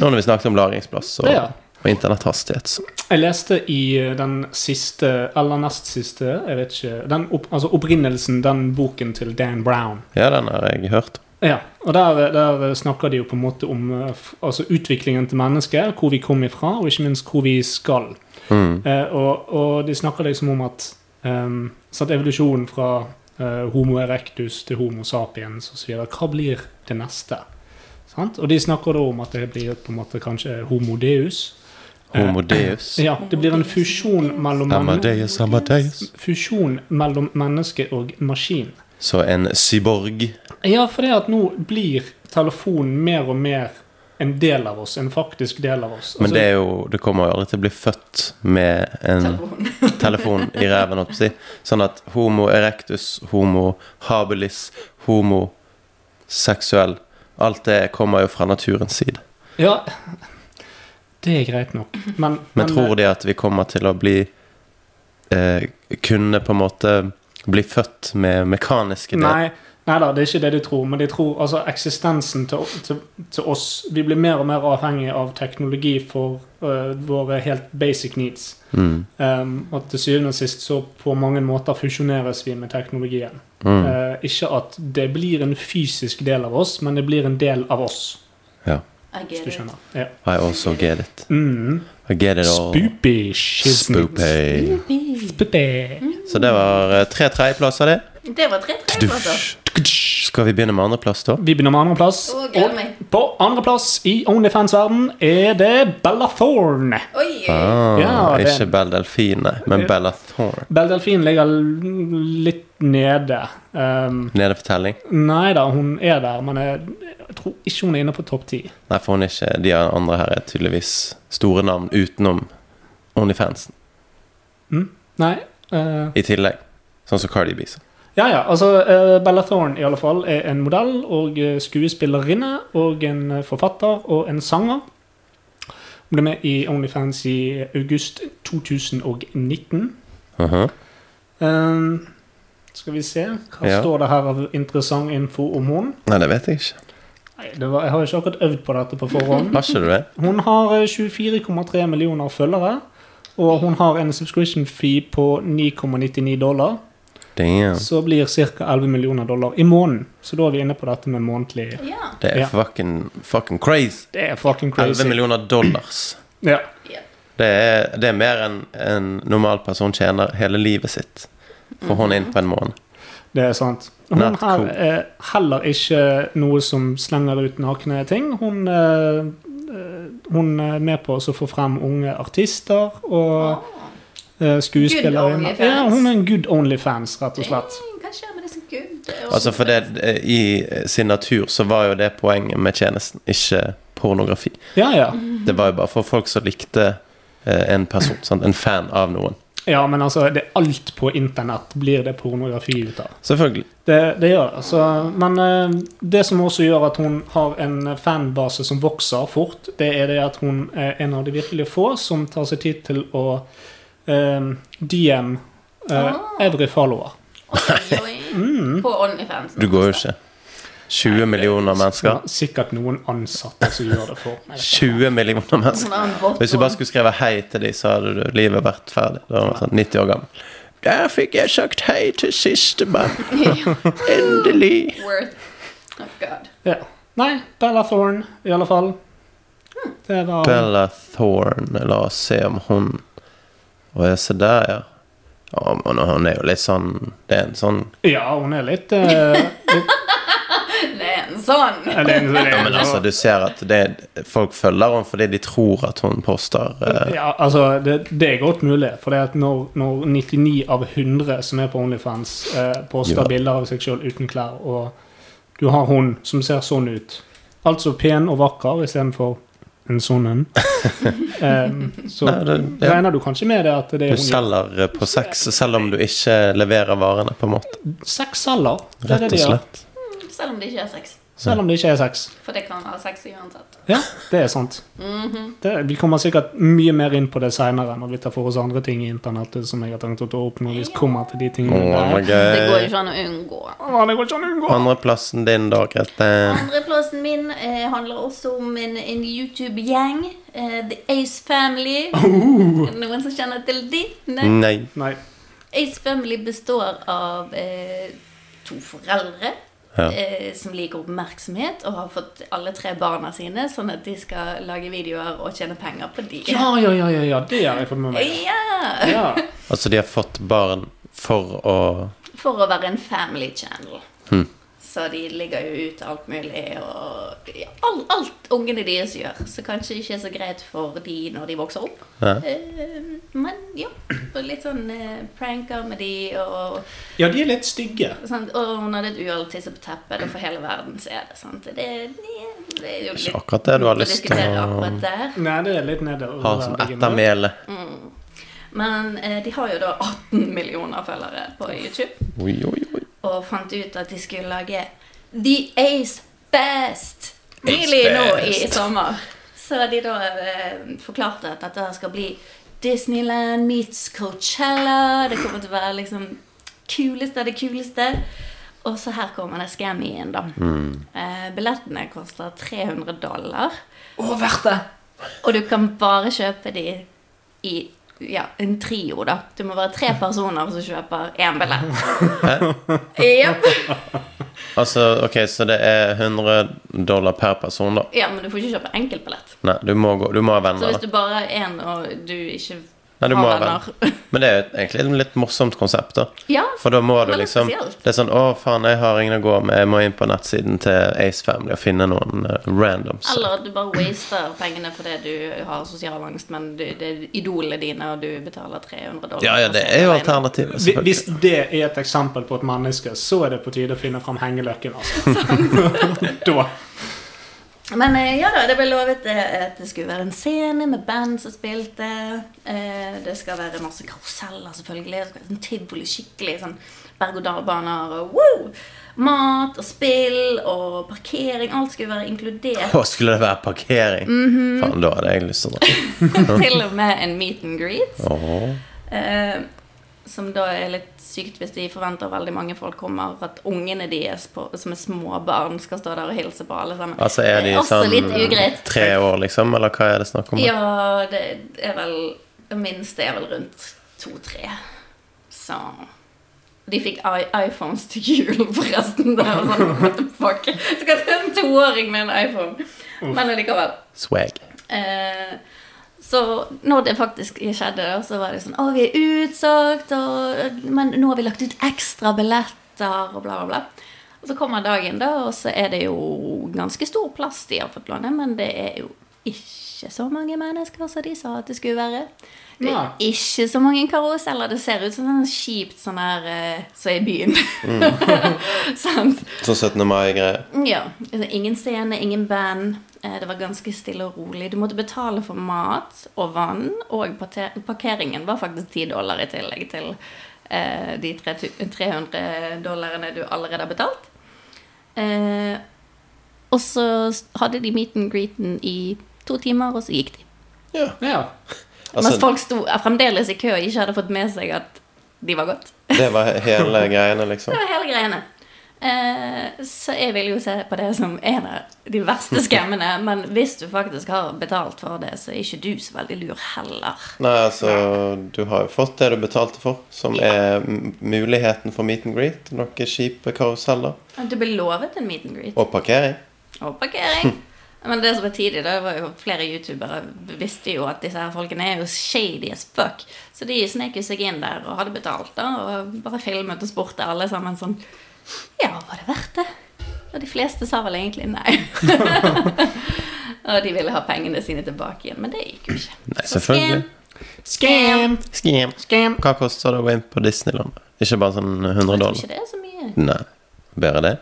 [SPEAKER 4] Nå når vi snakket om lagringsplass og,
[SPEAKER 3] Ja.
[SPEAKER 4] og internetthastighet, så
[SPEAKER 3] Jeg leste i eh, den siste, eller nest siste, jeg vet ikke den opp, Altså opprinnelsen, den boken til Dan Brown.
[SPEAKER 4] Ja, den har jeg hørt.
[SPEAKER 3] Ja, og der, der snakker de jo på en måte om eh, f- altså utviklingen til mennesket, hvor vi kom ifra, og ikke minst hvor vi skal.
[SPEAKER 4] Mm.
[SPEAKER 3] Eh, og, og de snakker liksom om at, ehm, så at evolusjonen fra eh, Homo erectus til Homo sapiens og så videre, hva blir det neste? Sant? Og de snakker da om at det blir på en måte kanskje Homo deus. Eh,
[SPEAKER 4] Homo deus.
[SPEAKER 3] Ja, det blir en fusjon mellom, men-
[SPEAKER 4] Amadeus, Amadeus.
[SPEAKER 3] fusjon mellom menneske og maskin.
[SPEAKER 4] Så en cyborg.
[SPEAKER 3] Ja, for det at nå blir telefonen mer og mer en del av oss, en faktisk del av oss. Altså,
[SPEAKER 4] Men det er jo Det kommer jo aldri til å bli født med en
[SPEAKER 2] Telefon.
[SPEAKER 4] <laughs> telefon i ræven, holdt på å si. Sånn at homo erectus, homo habilis, homo seksuell Alt det kommer jo fra naturens side.
[SPEAKER 3] Ja, det er greit nok. Men, eh,
[SPEAKER 4] Men tror de at vi kommer til å bli eh, Kunne på en måte bli født med mekaniske deler?
[SPEAKER 3] Nei, nei da, det er ikke det de tror. Men de tror altså eksistensen til, til, til oss Vi blir mer og mer avhengig av teknologi for øh, våre helt basic needs.
[SPEAKER 4] Mm.
[SPEAKER 3] Um, og til syvende og sist så på mange måter fusjoneres vi med teknologien.
[SPEAKER 4] Mm.
[SPEAKER 3] Eh, ikke at det blir en fysisk del av oss, men det blir en del av oss.
[SPEAKER 2] I
[SPEAKER 3] Hvis
[SPEAKER 2] get
[SPEAKER 3] du
[SPEAKER 2] it.
[SPEAKER 3] skjønner. Ja.
[SPEAKER 4] I also get it.
[SPEAKER 3] Mm.
[SPEAKER 4] I get it all.
[SPEAKER 3] Spoopy shiznit.
[SPEAKER 4] Spoopy.
[SPEAKER 3] Spoopy.
[SPEAKER 4] Så det var eh, tre tredjeplasser, det.
[SPEAKER 2] Det var tre tredjeplasser.
[SPEAKER 4] Skal vi begynne med andreplass, da?
[SPEAKER 3] Vi begynner med andreplass.
[SPEAKER 2] Å, gleder meg.
[SPEAKER 3] på andreplass i Onlyfans-verden er det Bella Thorne.
[SPEAKER 2] Oi!
[SPEAKER 4] Ah,
[SPEAKER 3] Ja, det-
[SPEAKER 4] Ikke Bell Delfine, men Bella Thorne.
[SPEAKER 3] Bell Delfin ligger l- litt nede. Um,
[SPEAKER 4] Nede for telling?
[SPEAKER 3] nei da, hun er der, men jeg, jeg tror ikke hun er inne på topp ti.
[SPEAKER 4] Nei, for hun er ikke De andre her er tydeligvis store navn utenom Onlyfansen
[SPEAKER 3] Nei. eh,
[SPEAKER 4] i tillegg. Sånn som Cardi B. så.
[SPEAKER 3] ja, ja. Altså, eh, Bella Thorne i alle fall er en modell og eh, skuespillerinne og en eh, forfatter og en sanger. Hun ble med i Onlyfans i august 2019.
[SPEAKER 4] Mhm.
[SPEAKER 3] Ehm, skal vi se Hva
[SPEAKER 4] Ja.
[SPEAKER 3] står det her av interessant info om hun?
[SPEAKER 4] Nei, det vet jeg ikke.
[SPEAKER 3] Nei, det var, Jeg har jo ikke akkurat øvd på dette på forhånd.
[SPEAKER 4] Har ikke du det?
[SPEAKER 3] Hun har eh, 24,3 millioner følgere. Og hun har en subscription fee på 9,99 dollar.
[SPEAKER 4] Damn.
[SPEAKER 3] Så blir ca. 11 millioner dollar i måneden. Så da er vi inne på dette med månedlig
[SPEAKER 2] Ja.
[SPEAKER 4] Det er
[SPEAKER 3] Ja.
[SPEAKER 4] fucking, fucking crazy.
[SPEAKER 3] Det er fucking
[SPEAKER 4] 11
[SPEAKER 3] crazy.
[SPEAKER 4] millioner dollars.
[SPEAKER 3] Ja.
[SPEAKER 2] ja.
[SPEAKER 4] Det er, det er mer enn en normal person tjener hele livet sitt. For hun inn på en måned.
[SPEAKER 3] Det er sant. Hun
[SPEAKER 4] Not
[SPEAKER 3] her
[SPEAKER 4] cool.
[SPEAKER 3] er heller ikke noe som slenger ut nakne ting. Hun, eh, eh, hun er med på å få frem unge artister og
[SPEAKER 2] Ah,
[SPEAKER 3] eh,
[SPEAKER 2] Good
[SPEAKER 3] skuespillere.
[SPEAKER 2] onlyfans.
[SPEAKER 3] Ja, hun er en good onlyfans, rett og slett.
[SPEAKER 2] dang, Hva skjer med det som gud?
[SPEAKER 4] Altså for det, I sin natur så var jo det poenget med tjenesten, ikke pornografi.
[SPEAKER 3] Ja, ja.
[SPEAKER 4] Det var jo bare for folk som likte eh, en person, sant? en fan av noen.
[SPEAKER 3] Ja, men altså, det, alt på internett blir det pornografi ut av.
[SPEAKER 4] Selvfølgelig.
[SPEAKER 3] Det, det gjør det. Så, men eh, det som også gjør at hun har en fanbase som vokser fort, det er det at hun er en av de virkelig få som tar seg tid til å eh, DM eh,
[SPEAKER 2] Ah.
[SPEAKER 3] every follower. Mm.
[SPEAKER 2] Oi, oi. På OnlyFans.
[SPEAKER 4] Du går jo ikke. 20 millioner mennesker.
[SPEAKER 3] Sikkert noen ansatte som gjør det for meg.
[SPEAKER 4] 20 millioner mennesker.
[SPEAKER 2] Sånn har en bot
[SPEAKER 4] Hvis du
[SPEAKER 2] på-
[SPEAKER 4] bare skulle skrevet hei til dem, så hadde du livet vært ferdig. Da var man sånn 90 år gammel. Der fikk jeg sagt hei til sistemann. Endelig.
[SPEAKER 2] Word. Oh god.
[SPEAKER 3] Ja. Nei, Bella Thorne, i alle fall. Det var
[SPEAKER 4] Bella Thorne. La oss se om hun Å ja, se der, ja. Ja, men hun er jo litt sånn Det er en sånn
[SPEAKER 3] Ja, hun er litt, eh, <laughs> litt
[SPEAKER 2] Det er en sånn.
[SPEAKER 3] eller en-
[SPEAKER 4] Ja, men altså, du ser at det, folk følger henne fordi de tror at hun poster eh,
[SPEAKER 3] Ja, altså, det, det er godt mulig. For det at når, når 99 av 100 som er på Onlyfans, eh, poster
[SPEAKER 4] Ja.
[SPEAKER 3] bilder av seg sjøl uten klær, og du har hun som ser sånn ut Altså pen og vakker istedenfor en sånn
[SPEAKER 4] <laughs>
[SPEAKER 3] en. Em, så
[SPEAKER 4] Nei, det- ja.
[SPEAKER 3] regner du kanskje med det at det
[SPEAKER 4] Du
[SPEAKER 3] er hun
[SPEAKER 4] selger eh, på sex selv om du ikke leverer varene, på en måte.
[SPEAKER 3] Sex selger. Det er det
[SPEAKER 4] Rett og
[SPEAKER 3] de gjør.
[SPEAKER 4] slett.
[SPEAKER 2] Selv om det ikke er sex.
[SPEAKER 3] Selv om det ikke er sex.
[SPEAKER 2] For det kan være sex uansett.
[SPEAKER 3] Ja, det er sant. det, vi kommer sikkert mye mer inn på det seinere når vi tar for oss andre ting i internettet som jeg har tenkt å ta opp når vi kommer til de tingene
[SPEAKER 4] Å,
[SPEAKER 3] der.
[SPEAKER 4] men
[SPEAKER 2] Mm, Det går
[SPEAKER 4] gøy.
[SPEAKER 2] ikke an å unngå.
[SPEAKER 3] Å, det går ikke an å unngå.
[SPEAKER 4] Andreplassen din, da, Grete?
[SPEAKER 2] Andreplassen min eh, handler også om en, en YouTube-gjeng. Eh, The Ace Family. Er det noen som kjenner til de? Nei.
[SPEAKER 4] Nei.
[SPEAKER 3] Nei.
[SPEAKER 2] Ace Family består av eh, to foreldre
[SPEAKER 4] Ja.
[SPEAKER 2] eh, som liker oppmerksomhet og har fått alle tre barna sine, sånn at de skal lage videoer og tjene penger på de.
[SPEAKER 3] Ja, ja, ja, ja, ja, det har jeg fått med meg.
[SPEAKER 2] <laughs> Ja!
[SPEAKER 3] Ja.
[SPEAKER 4] Altså, de har fått barn for å
[SPEAKER 2] For å være en family channel.
[SPEAKER 4] Hmm.
[SPEAKER 2] Så de ligger jo ut alt mulig og ja, alt, alt ungene deres gjør. Så kanskje ikke er så greit for de når de vokser opp.
[SPEAKER 4] ja.
[SPEAKER 2] Eh, men ja. Og litt sånn eh, pranker med de og
[SPEAKER 3] ja, de er litt stygge.
[SPEAKER 2] sant? Og hun hadde et uhell tisse på teppet, og for hele verden så er det sant. Det, det, det er jo
[SPEAKER 4] Ikke akkurat det du har
[SPEAKER 2] noe
[SPEAKER 4] lyst til
[SPEAKER 2] diskutere
[SPEAKER 4] å-
[SPEAKER 2] akkurat der.
[SPEAKER 3] Nei, det er litt nedover.
[SPEAKER 4] ha som ettermæle.
[SPEAKER 2] Men eh, de har jo da 18 millioner følgere på YouTube,
[SPEAKER 4] Oi, oi, oi.
[SPEAKER 2] og fant ut at de skulle lage The Ace Fest nylig nå i
[SPEAKER 4] Fest.
[SPEAKER 2] sommer. Så de da eh, forklarte at dette skal bli Disneyland meets Coachella. Det kommer til å være liksom kuleste av det kuleste. Og så her kommer det scammy inn, da.
[SPEAKER 3] Mm.
[SPEAKER 2] Eh, billettene koster 300 dollar.
[SPEAKER 3] Å, verdt det!
[SPEAKER 2] Og du kan bare kjøpe de i ja, en trio, da. Du må være tre personer som kjøper én
[SPEAKER 3] <laughs>
[SPEAKER 2] billett. Jep.
[SPEAKER 4] Altså, ok, så det er 100 dollar per person, da.
[SPEAKER 2] Ja, men du får ikke kjøpe enkeltbillett.
[SPEAKER 4] Nei, du må, gå, du må ha
[SPEAKER 2] Så
[SPEAKER 4] venner.
[SPEAKER 2] hvis
[SPEAKER 4] da.
[SPEAKER 2] du bare er én, og du ikke
[SPEAKER 4] Nei, du må ha
[SPEAKER 2] har
[SPEAKER 4] venner.
[SPEAKER 2] venner
[SPEAKER 4] Men det er jo egentlig et litt morsomt konsept, da.
[SPEAKER 2] <laughs> Ja,
[SPEAKER 4] For da må du
[SPEAKER 2] Men det er
[SPEAKER 4] liksom
[SPEAKER 2] spesielt.
[SPEAKER 4] Det er sånn 'Å, faen, jeg har ingen å gå med. Jeg må inn på nettsiden til Ace Family og finne noen eh, randoms.'
[SPEAKER 2] eller at du bare waster pengene fordi du har sosial angst, men du, det er idolene dine, og du betaler 300 dollar.
[SPEAKER 4] Ja,
[SPEAKER 2] for
[SPEAKER 4] ja,
[SPEAKER 2] å
[SPEAKER 4] det
[SPEAKER 2] se
[SPEAKER 4] er jo
[SPEAKER 2] alene.
[SPEAKER 4] alternativet.
[SPEAKER 3] Hvi-
[SPEAKER 4] selvfølgelig.
[SPEAKER 3] Hvis det er et eksempel på et menneske, så er det på tide å finne fram hengeløkken.
[SPEAKER 2] <laughs>
[SPEAKER 3] Altså.
[SPEAKER 2] Sånn.
[SPEAKER 3] <laughs> da.
[SPEAKER 2] Men eh, ja da, det ble lovet eh, at det skulle være en scene med band som spilte. Eh, det skal være masse karuseller, selvfølgelig. Det skal være sånn tivoli, skikkelig sånn berg-og-dal-baner og wow! Mat og spill og parkering. Alt skulle være inkludert.
[SPEAKER 4] Å, skulle det være parkering?
[SPEAKER 2] Mhm.
[SPEAKER 4] Faen, da hadde jeg lyst til å dra.
[SPEAKER 2] <laughs> Til og med en meet and greet.
[SPEAKER 4] Åh.
[SPEAKER 2] Eh, som da er litt sykt hvis de forventer veldig mange folk kommer, at ungene deres på, som er små barn, skal stå der og hilse på alle sammen.
[SPEAKER 4] Altså, er de
[SPEAKER 2] Det er også litt
[SPEAKER 4] sånn
[SPEAKER 2] ugreit.
[SPEAKER 4] tre år, liksom? Eller hva er det snakk om?
[SPEAKER 2] Ja, det er vel Det minste er vel rundt to-tre. Så De fikk i iPhones til jul, forresten. Det var sånn, what the fuck? Skal til en toåring med en iPhone. Men allikevel.
[SPEAKER 4] Swag.
[SPEAKER 2] Eh, så når det faktisk skjedde, da, så var det sånn Å, vi er utsolgt, og Men nå har vi lagt ut ekstra billetter, og bla, bla, bla. Og så kommer dagen, da, og så er det jo ganske stor plass de har fått låne, men det er jo ikke så mange mennesker som de sa at det skulle være. Det
[SPEAKER 3] Nei.
[SPEAKER 2] er ikke så mange karuseller. Det ser ut som sånn kjipt sånn her eh, som er i byen. <laughs> Sant?
[SPEAKER 4] Sånn 17. mai-greier.
[SPEAKER 2] Ja. altså, Ingen scene, ingen band. Eh, Det var ganske stille og rolig. Du måtte betale for mat og vann, og parter- parkeringen var faktisk 10 dollar i tillegg til eh, de 3000 300 dollarene du allerede har betalt. Eh, og så s- hadde de meet and greeten i to timer, og så gikk de.
[SPEAKER 3] Ja.
[SPEAKER 2] Mens
[SPEAKER 4] Altså,
[SPEAKER 2] folk sto eh, fremdeles i kø og ikke hadde fått med seg at de var gått.
[SPEAKER 4] det var hele greiene, liksom.
[SPEAKER 2] Det var hele greiene. Eh, så jeg vil jo se på det som en av de verste skemmene. <laughs> Men hvis du faktisk har betalt for det, så er ikke du så veldig lur heller.
[SPEAKER 4] Nei, altså, du har jo fått det du betalte for, som er m- muligheten for meet and greet. Noen kjipe karuseller.
[SPEAKER 2] Du ble lovet en meet and greet
[SPEAKER 4] Og parkering.
[SPEAKER 2] og <laughs> parkering. Men det som var tidlig, det var jo flere youtubere visste jo at disse her folkene er jo shady as fuck. Så de snek jo seg inn der og hadde betalt, da, og bare filmet og spurte alle sammen sånn Ja, var det verdt det? Og de fleste sa vel egentlig nei. <laughs> og de ville ha pengene sine tilbake igjen, men det gikk jo ikke.
[SPEAKER 4] Nei, selvfølgelig.
[SPEAKER 3] Scam!
[SPEAKER 4] Skam.
[SPEAKER 3] Scam!
[SPEAKER 4] Hva koster det å gå inn på Disneyland? Ikke bare sånn 100
[SPEAKER 2] Jeg tror
[SPEAKER 4] dollar?
[SPEAKER 2] ikke det er så mye.
[SPEAKER 4] Nei. Bare det?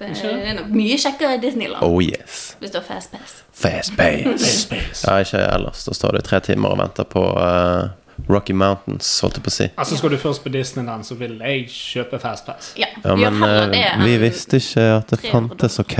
[SPEAKER 2] Det er nok mye kjekkere i Disneyland
[SPEAKER 4] Oh yes.
[SPEAKER 2] hvis du har fast pass.
[SPEAKER 4] Fast pace. Ja, ikke ellers. Da står du i tre timer og venter på eh, Rocky Mountains, holdt jeg på å si.
[SPEAKER 3] Altså, skal du først på Disneyland, så vil jeg kjøpe Fastpass.
[SPEAKER 2] Ja,
[SPEAKER 4] Ja,
[SPEAKER 2] gjør
[SPEAKER 4] men
[SPEAKER 2] heller det
[SPEAKER 4] eh,
[SPEAKER 2] enn-
[SPEAKER 4] vi visste ikke at det
[SPEAKER 2] 300
[SPEAKER 4] fantes, OK?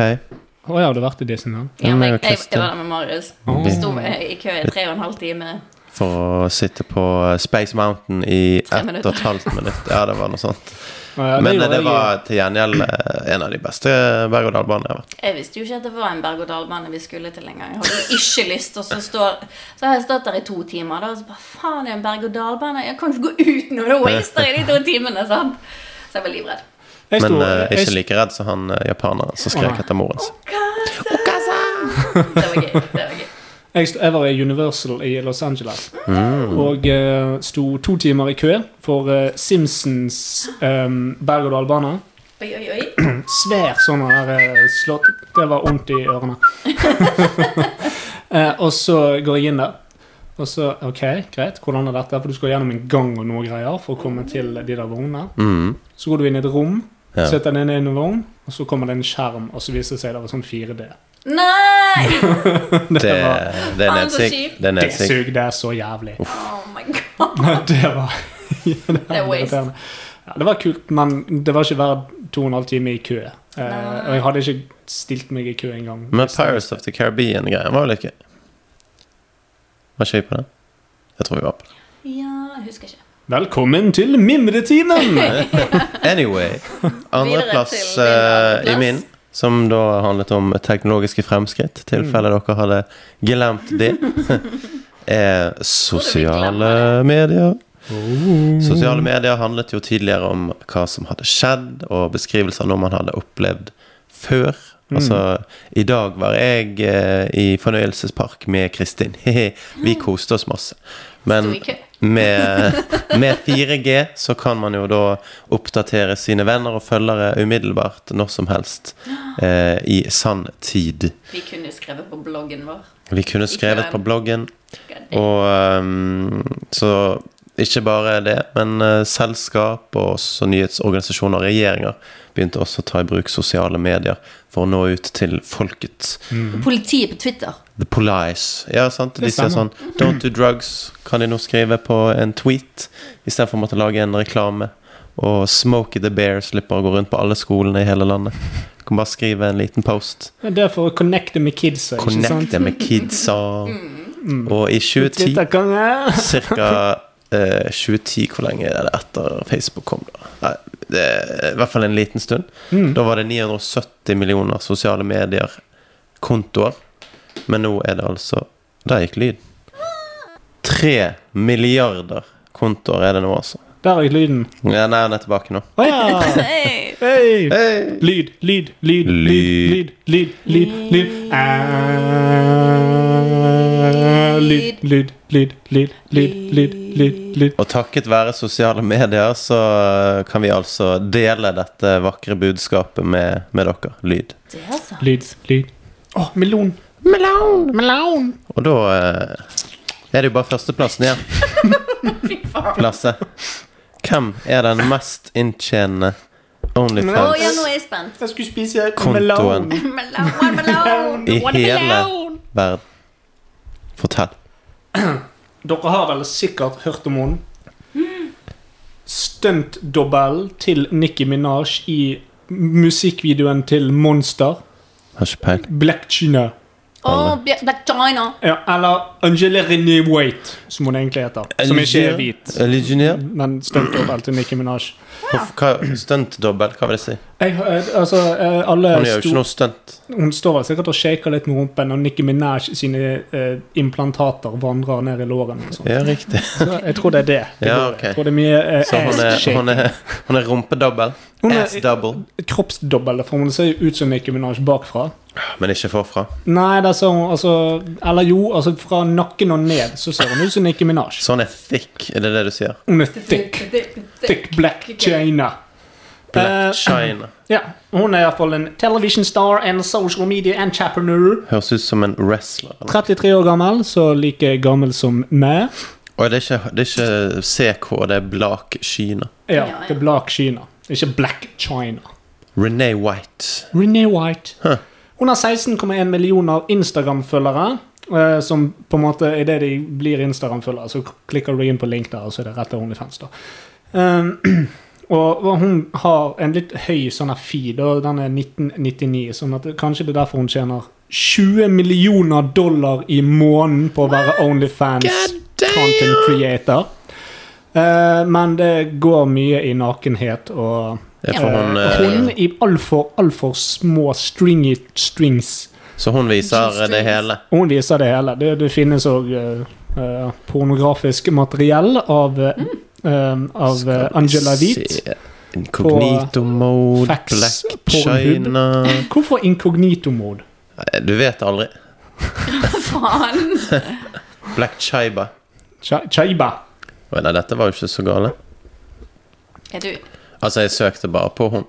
[SPEAKER 3] Å ja, har du vært i Disneyland?
[SPEAKER 2] Ja, men
[SPEAKER 4] meg
[SPEAKER 2] jeg,
[SPEAKER 4] og
[SPEAKER 2] jeg,
[SPEAKER 4] Kristin.
[SPEAKER 2] jeg var der med Marius. Vi sto i kø i tre og en halv time.
[SPEAKER 4] For å sitte på eh, Space Mountain i
[SPEAKER 2] Tre
[SPEAKER 4] ett og
[SPEAKER 2] minutter.
[SPEAKER 4] et halvt minutt. Ja, det var noe sånt.
[SPEAKER 3] Å ja,
[SPEAKER 4] Men eh,
[SPEAKER 3] gjorde
[SPEAKER 4] det
[SPEAKER 3] jeg jo.
[SPEAKER 4] var til gjengjeld eh, en av de beste berg-og-dal-banene jeg har vært.
[SPEAKER 2] Jeg visste jo ikke at det var en berg-og-dal-bane vi skulle til engang. Jeg hadde jo ikke lyst, og så, står, så har jeg stått der i to timer, da, og så bare faen, det er en berg-og-dal-bane. Jeg kan ikke gå ut når det waster i de to timene, sant? Så jeg var livredd.
[SPEAKER 3] Jeg
[SPEAKER 4] Men
[SPEAKER 3] sto-
[SPEAKER 4] eh,
[SPEAKER 3] jeg
[SPEAKER 4] ikke like redd som han eh, japaneren som
[SPEAKER 3] Å,
[SPEAKER 4] skrek
[SPEAKER 3] nei.
[SPEAKER 4] etter moren sin.
[SPEAKER 2] Det var gøy. det var gøy.
[SPEAKER 3] Jeg, st- jeg var i Universal i Los Angeles
[SPEAKER 4] Mm.
[SPEAKER 3] og uh, sto to timer i kø for eh, Simpsons um, berg-og-dal-bane.
[SPEAKER 2] Oi, oi, oi.
[SPEAKER 3] Svær sånn her eh, slått Det var vondt i ørene. <laughs> Eh, og så går jeg inn der. Og så OK, greit, hvordan er dette? For du skal gjennom en gang og noe greier for å komme til de der vognene.
[SPEAKER 4] Mm.
[SPEAKER 3] Så går du inn i et rom,
[SPEAKER 4] Ja.
[SPEAKER 3] setter deg ned i en vogn, og så kommer det en skjerm, og så viser det seg det var sånn <laughs> 4D.
[SPEAKER 2] Nei!
[SPEAKER 4] Det, det
[SPEAKER 3] var-
[SPEAKER 4] er
[SPEAKER 2] Faen, så
[SPEAKER 4] nedsig.
[SPEAKER 2] kjipt.
[SPEAKER 4] Det er
[SPEAKER 3] Det
[SPEAKER 4] nedsig.
[SPEAKER 3] sugde så jævlig.
[SPEAKER 2] Oh my god.
[SPEAKER 3] det var <laughs> det var
[SPEAKER 2] er waste.
[SPEAKER 3] irriterende. Ja, det var kult, men det var ikke hver to og en halv time i kø. Eh,
[SPEAKER 2] Nei.
[SPEAKER 3] og jeg hadde ikke stilt meg i kø engang.
[SPEAKER 4] Men Pirates of the Caribbean-greien var jo litt gøy. Var ikke vi på den? Jeg tror vi var på den.
[SPEAKER 2] Ja, jeg husker ikke.
[SPEAKER 3] Velkommen til
[SPEAKER 4] <laughs>
[SPEAKER 3] mimretimen!
[SPEAKER 4] Anyway. Andreplass
[SPEAKER 2] Videre til
[SPEAKER 4] eh,
[SPEAKER 2] din
[SPEAKER 4] i min, som da handlet om teknologiske fremskritt, tilfelle dere hadde glemt
[SPEAKER 2] <laughs>
[SPEAKER 4] det, er sosiale medier. Sosiale medier handlet jo tidligere om hva som hadde skjedd, og beskrivelser av noe man hadde opplevd før. Altså, i dag var jeg eh, i fornøyelsespark med Kristin. <laughs> Hehe, Vi
[SPEAKER 2] Mm.
[SPEAKER 4] koste oss masse. Men
[SPEAKER 2] Sto i kø.
[SPEAKER 4] med, med 4G så kan man jo da oppdatere sine venner og følgere umiddelbart når som helst eh, i sann tid.
[SPEAKER 2] Vi kunne jo skrevet på bloggen vår.
[SPEAKER 4] Vi kunne skrevet
[SPEAKER 2] Ikke
[SPEAKER 4] på
[SPEAKER 2] den.
[SPEAKER 4] bloggen,
[SPEAKER 2] God damn.
[SPEAKER 4] og ehm, så ikke bare det, men eh, selskap og også nyhetsorganisasjoner og regjeringer begynte også å ta i bruk sosiale medier for å nå ut til folket.
[SPEAKER 3] Mm.
[SPEAKER 2] Politiet på Twitter.
[SPEAKER 4] The Police. Ja, sant? De
[SPEAKER 3] Det
[SPEAKER 4] sier sånn
[SPEAKER 3] stemmer.
[SPEAKER 4] Don't do drugs kan de nå skrive på en tweet istedenfor å måtte lage en reklame. Og Smokey the Bear slipper å gå rundt på alle skolene i hele landet. Kan bare skrive en liten post.
[SPEAKER 3] Det er for å connecte med kidsa, ikke sant? Mm.
[SPEAKER 4] Connecte med kidsa. Og i 2010
[SPEAKER 3] Twitterkonge!
[SPEAKER 4] Cirka eh, 2010, hvor lenge er det etter Facebook kom? da? Nei, det, er I hvert fall en liten stund. Da var det 970 millioner sosiale medier-kontoer. Men nå er det altså Der gikk lyd. Tre milliarder kontoer er det nå, altså.
[SPEAKER 3] Der har jeg lyden.
[SPEAKER 4] Ja, nei, han er tilbake nå.
[SPEAKER 3] Å
[SPEAKER 4] <laughs>
[SPEAKER 3] ja!
[SPEAKER 2] Hey.
[SPEAKER 3] Hei!
[SPEAKER 4] Hey!
[SPEAKER 3] Lyd, lyd, lyd, lyd, lyd, lyd, lyd, lyd. Eh, Lyd, lyd, lyd, lyd, lyd, lyd, lyd, lyd.
[SPEAKER 4] Og takket være sosiale medier så eh, kan vi altså dele dette vakre budskapet med, med dere. Lyd.
[SPEAKER 2] Det, altså.
[SPEAKER 3] Lyd, lyd. Å, melon!
[SPEAKER 4] Malone, Malone. Og da eh, er det jo bare førsteplass
[SPEAKER 2] <laughs>
[SPEAKER 4] ned.
[SPEAKER 2] Fy faen.
[SPEAKER 4] Lasse. Hvem er den mest inntjenende
[SPEAKER 2] Å ja, nå
[SPEAKER 4] Onlyfans-kontoen
[SPEAKER 2] er jeg spent.
[SPEAKER 3] Jeg skulle spise
[SPEAKER 4] Kontoen.
[SPEAKER 2] Malone, one Malone.
[SPEAKER 4] i
[SPEAKER 2] one
[SPEAKER 4] hele
[SPEAKER 2] Malone.
[SPEAKER 4] verden? Fortell.
[SPEAKER 3] Dere har vel sikkert hørt om henne. Stuntdobbel til Nicki Minaj i musikkvideoen til Monster.
[SPEAKER 4] Har ikke peiling.
[SPEAKER 3] Black China.
[SPEAKER 2] Å, Bjør- Black Oh, China.
[SPEAKER 3] Ja, eller Angela Renee Waite, som hun egentlig heter. Som ikke er hvit,
[SPEAKER 4] Legionær?
[SPEAKER 3] men stuntdobbel til Nicki Minaj.
[SPEAKER 4] Stuntdobbel, hva vil det si?
[SPEAKER 3] Jeg, har- eh, altså, eh, alle
[SPEAKER 4] Hun gjør
[SPEAKER 3] sto-
[SPEAKER 4] jo ikke noe stunt.
[SPEAKER 3] Hun står vel sikkert og shaker litt med rumpen, og Nicki Minaj sine eh, implantater vandrer ned i lårene. og sånt.
[SPEAKER 4] Ja, riktig.
[SPEAKER 3] Så jeg tror det er det. det
[SPEAKER 4] Ja,
[SPEAKER 3] går i.
[SPEAKER 4] ok.
[SPEAKER 3] Jeg tror det er mye eh,
[SPEAKER 4] Så hun er,
[SPEAKER 3] ass-shaking.
[SPEAKER 4] hun er, hun er rumpedobbel.
[SPEAKER 3] Hun er-
[SPEAKER 4] Ass-double.
[SPEAKER 3] Kroppsdobbel, for hun ser jo ut som Nicki Minaj bakfra.
[SPEAKER 4] Men ikke forfra.
[SPEAKER 3] Nei, det ser hun altså Eller jo, altså fra nakken og ned så ser hun ut som Nicki Minaj.
[SPEAKER 4] Så hun Sånn er thick, er det det du sier?
[SPEAKER 3] Hun er thick. Thick black china. Eh,
[SPEAKER 4] Black China.
[SPEAKER 3] ja, hun er iallfall en television star and social media entrepreneur.
[SPEAKER 4] Høres ut som en wrestler.
[SPEAKER 3] 33 år gammel, så like gammel som meg.
[SPEAKER 4] Og det er ikke, det er ikke CK, det er Black China.
[SPEAKER 3] Ja,
[SPEAKER 2] Ja, ja.
[SPEAKER 3] det er Black China. Ikke Black China.
[SPEAKER 4] Renee White.
[SPEAKER 3] Renee White. Hun har 16,1 millioner Instagram-følgere. eh, Som på en måte er det de blir Instagram-følgere. Så klikker du inn på link der, og så er det rett til OnlyFans. da. Eh, <clears throat> og og hun har en litt høy sånn her feed, og den er 1999. sånn at det- kanskje det er derfor hun tjener 20 millioner dollar i måneden på å være
[SPEAKER 4] God
[SPEAKER 3] OnlyFans-content
[SPEAKER 4] damn!
[SPEAKER 3] creator. Eh, men det går mye i nakenhet og
[SPEAKER 4] Jeg tror hun,
[SPEAKER 3] Eh,
[SPEAKER 4] eh,
[SPEAKER 3] Hun i altfor, altfor små stringy strings.
[SPEAKER 4] Så hun viser det hele.
[SPEAKER 3] Og Hun viser det hele. Det, det finnes òg eh, eh, pornografisk materiell av, eh,
[SPEAKER 4] Mm.
[SPEAKER 3] eh, av eh, Angela Hvit.
[SPEAKER 4] Incognito mode,
[SPEAKER 3] Fax,
[SPEAKER 4] Black
[SPEAKER 3] Pornhub.
[SPEAKER 4] China
[SPEAKER 3] Hvorfor inkognito-mode?
[SPEAKER 4] Nei, Du vet aldri.
[SPEAKER 2] <laughs> Faen.
[SPEAKER 4] Black Chiba.
[SPEAKER 3] Cha- Chaiba.
[SPEAKER 4] Oi, Nei, dette var jo ikke så gale.
[SPEAKER 2] Er du
[SPEAKER 4] Altså, jeg søkte bare på hun.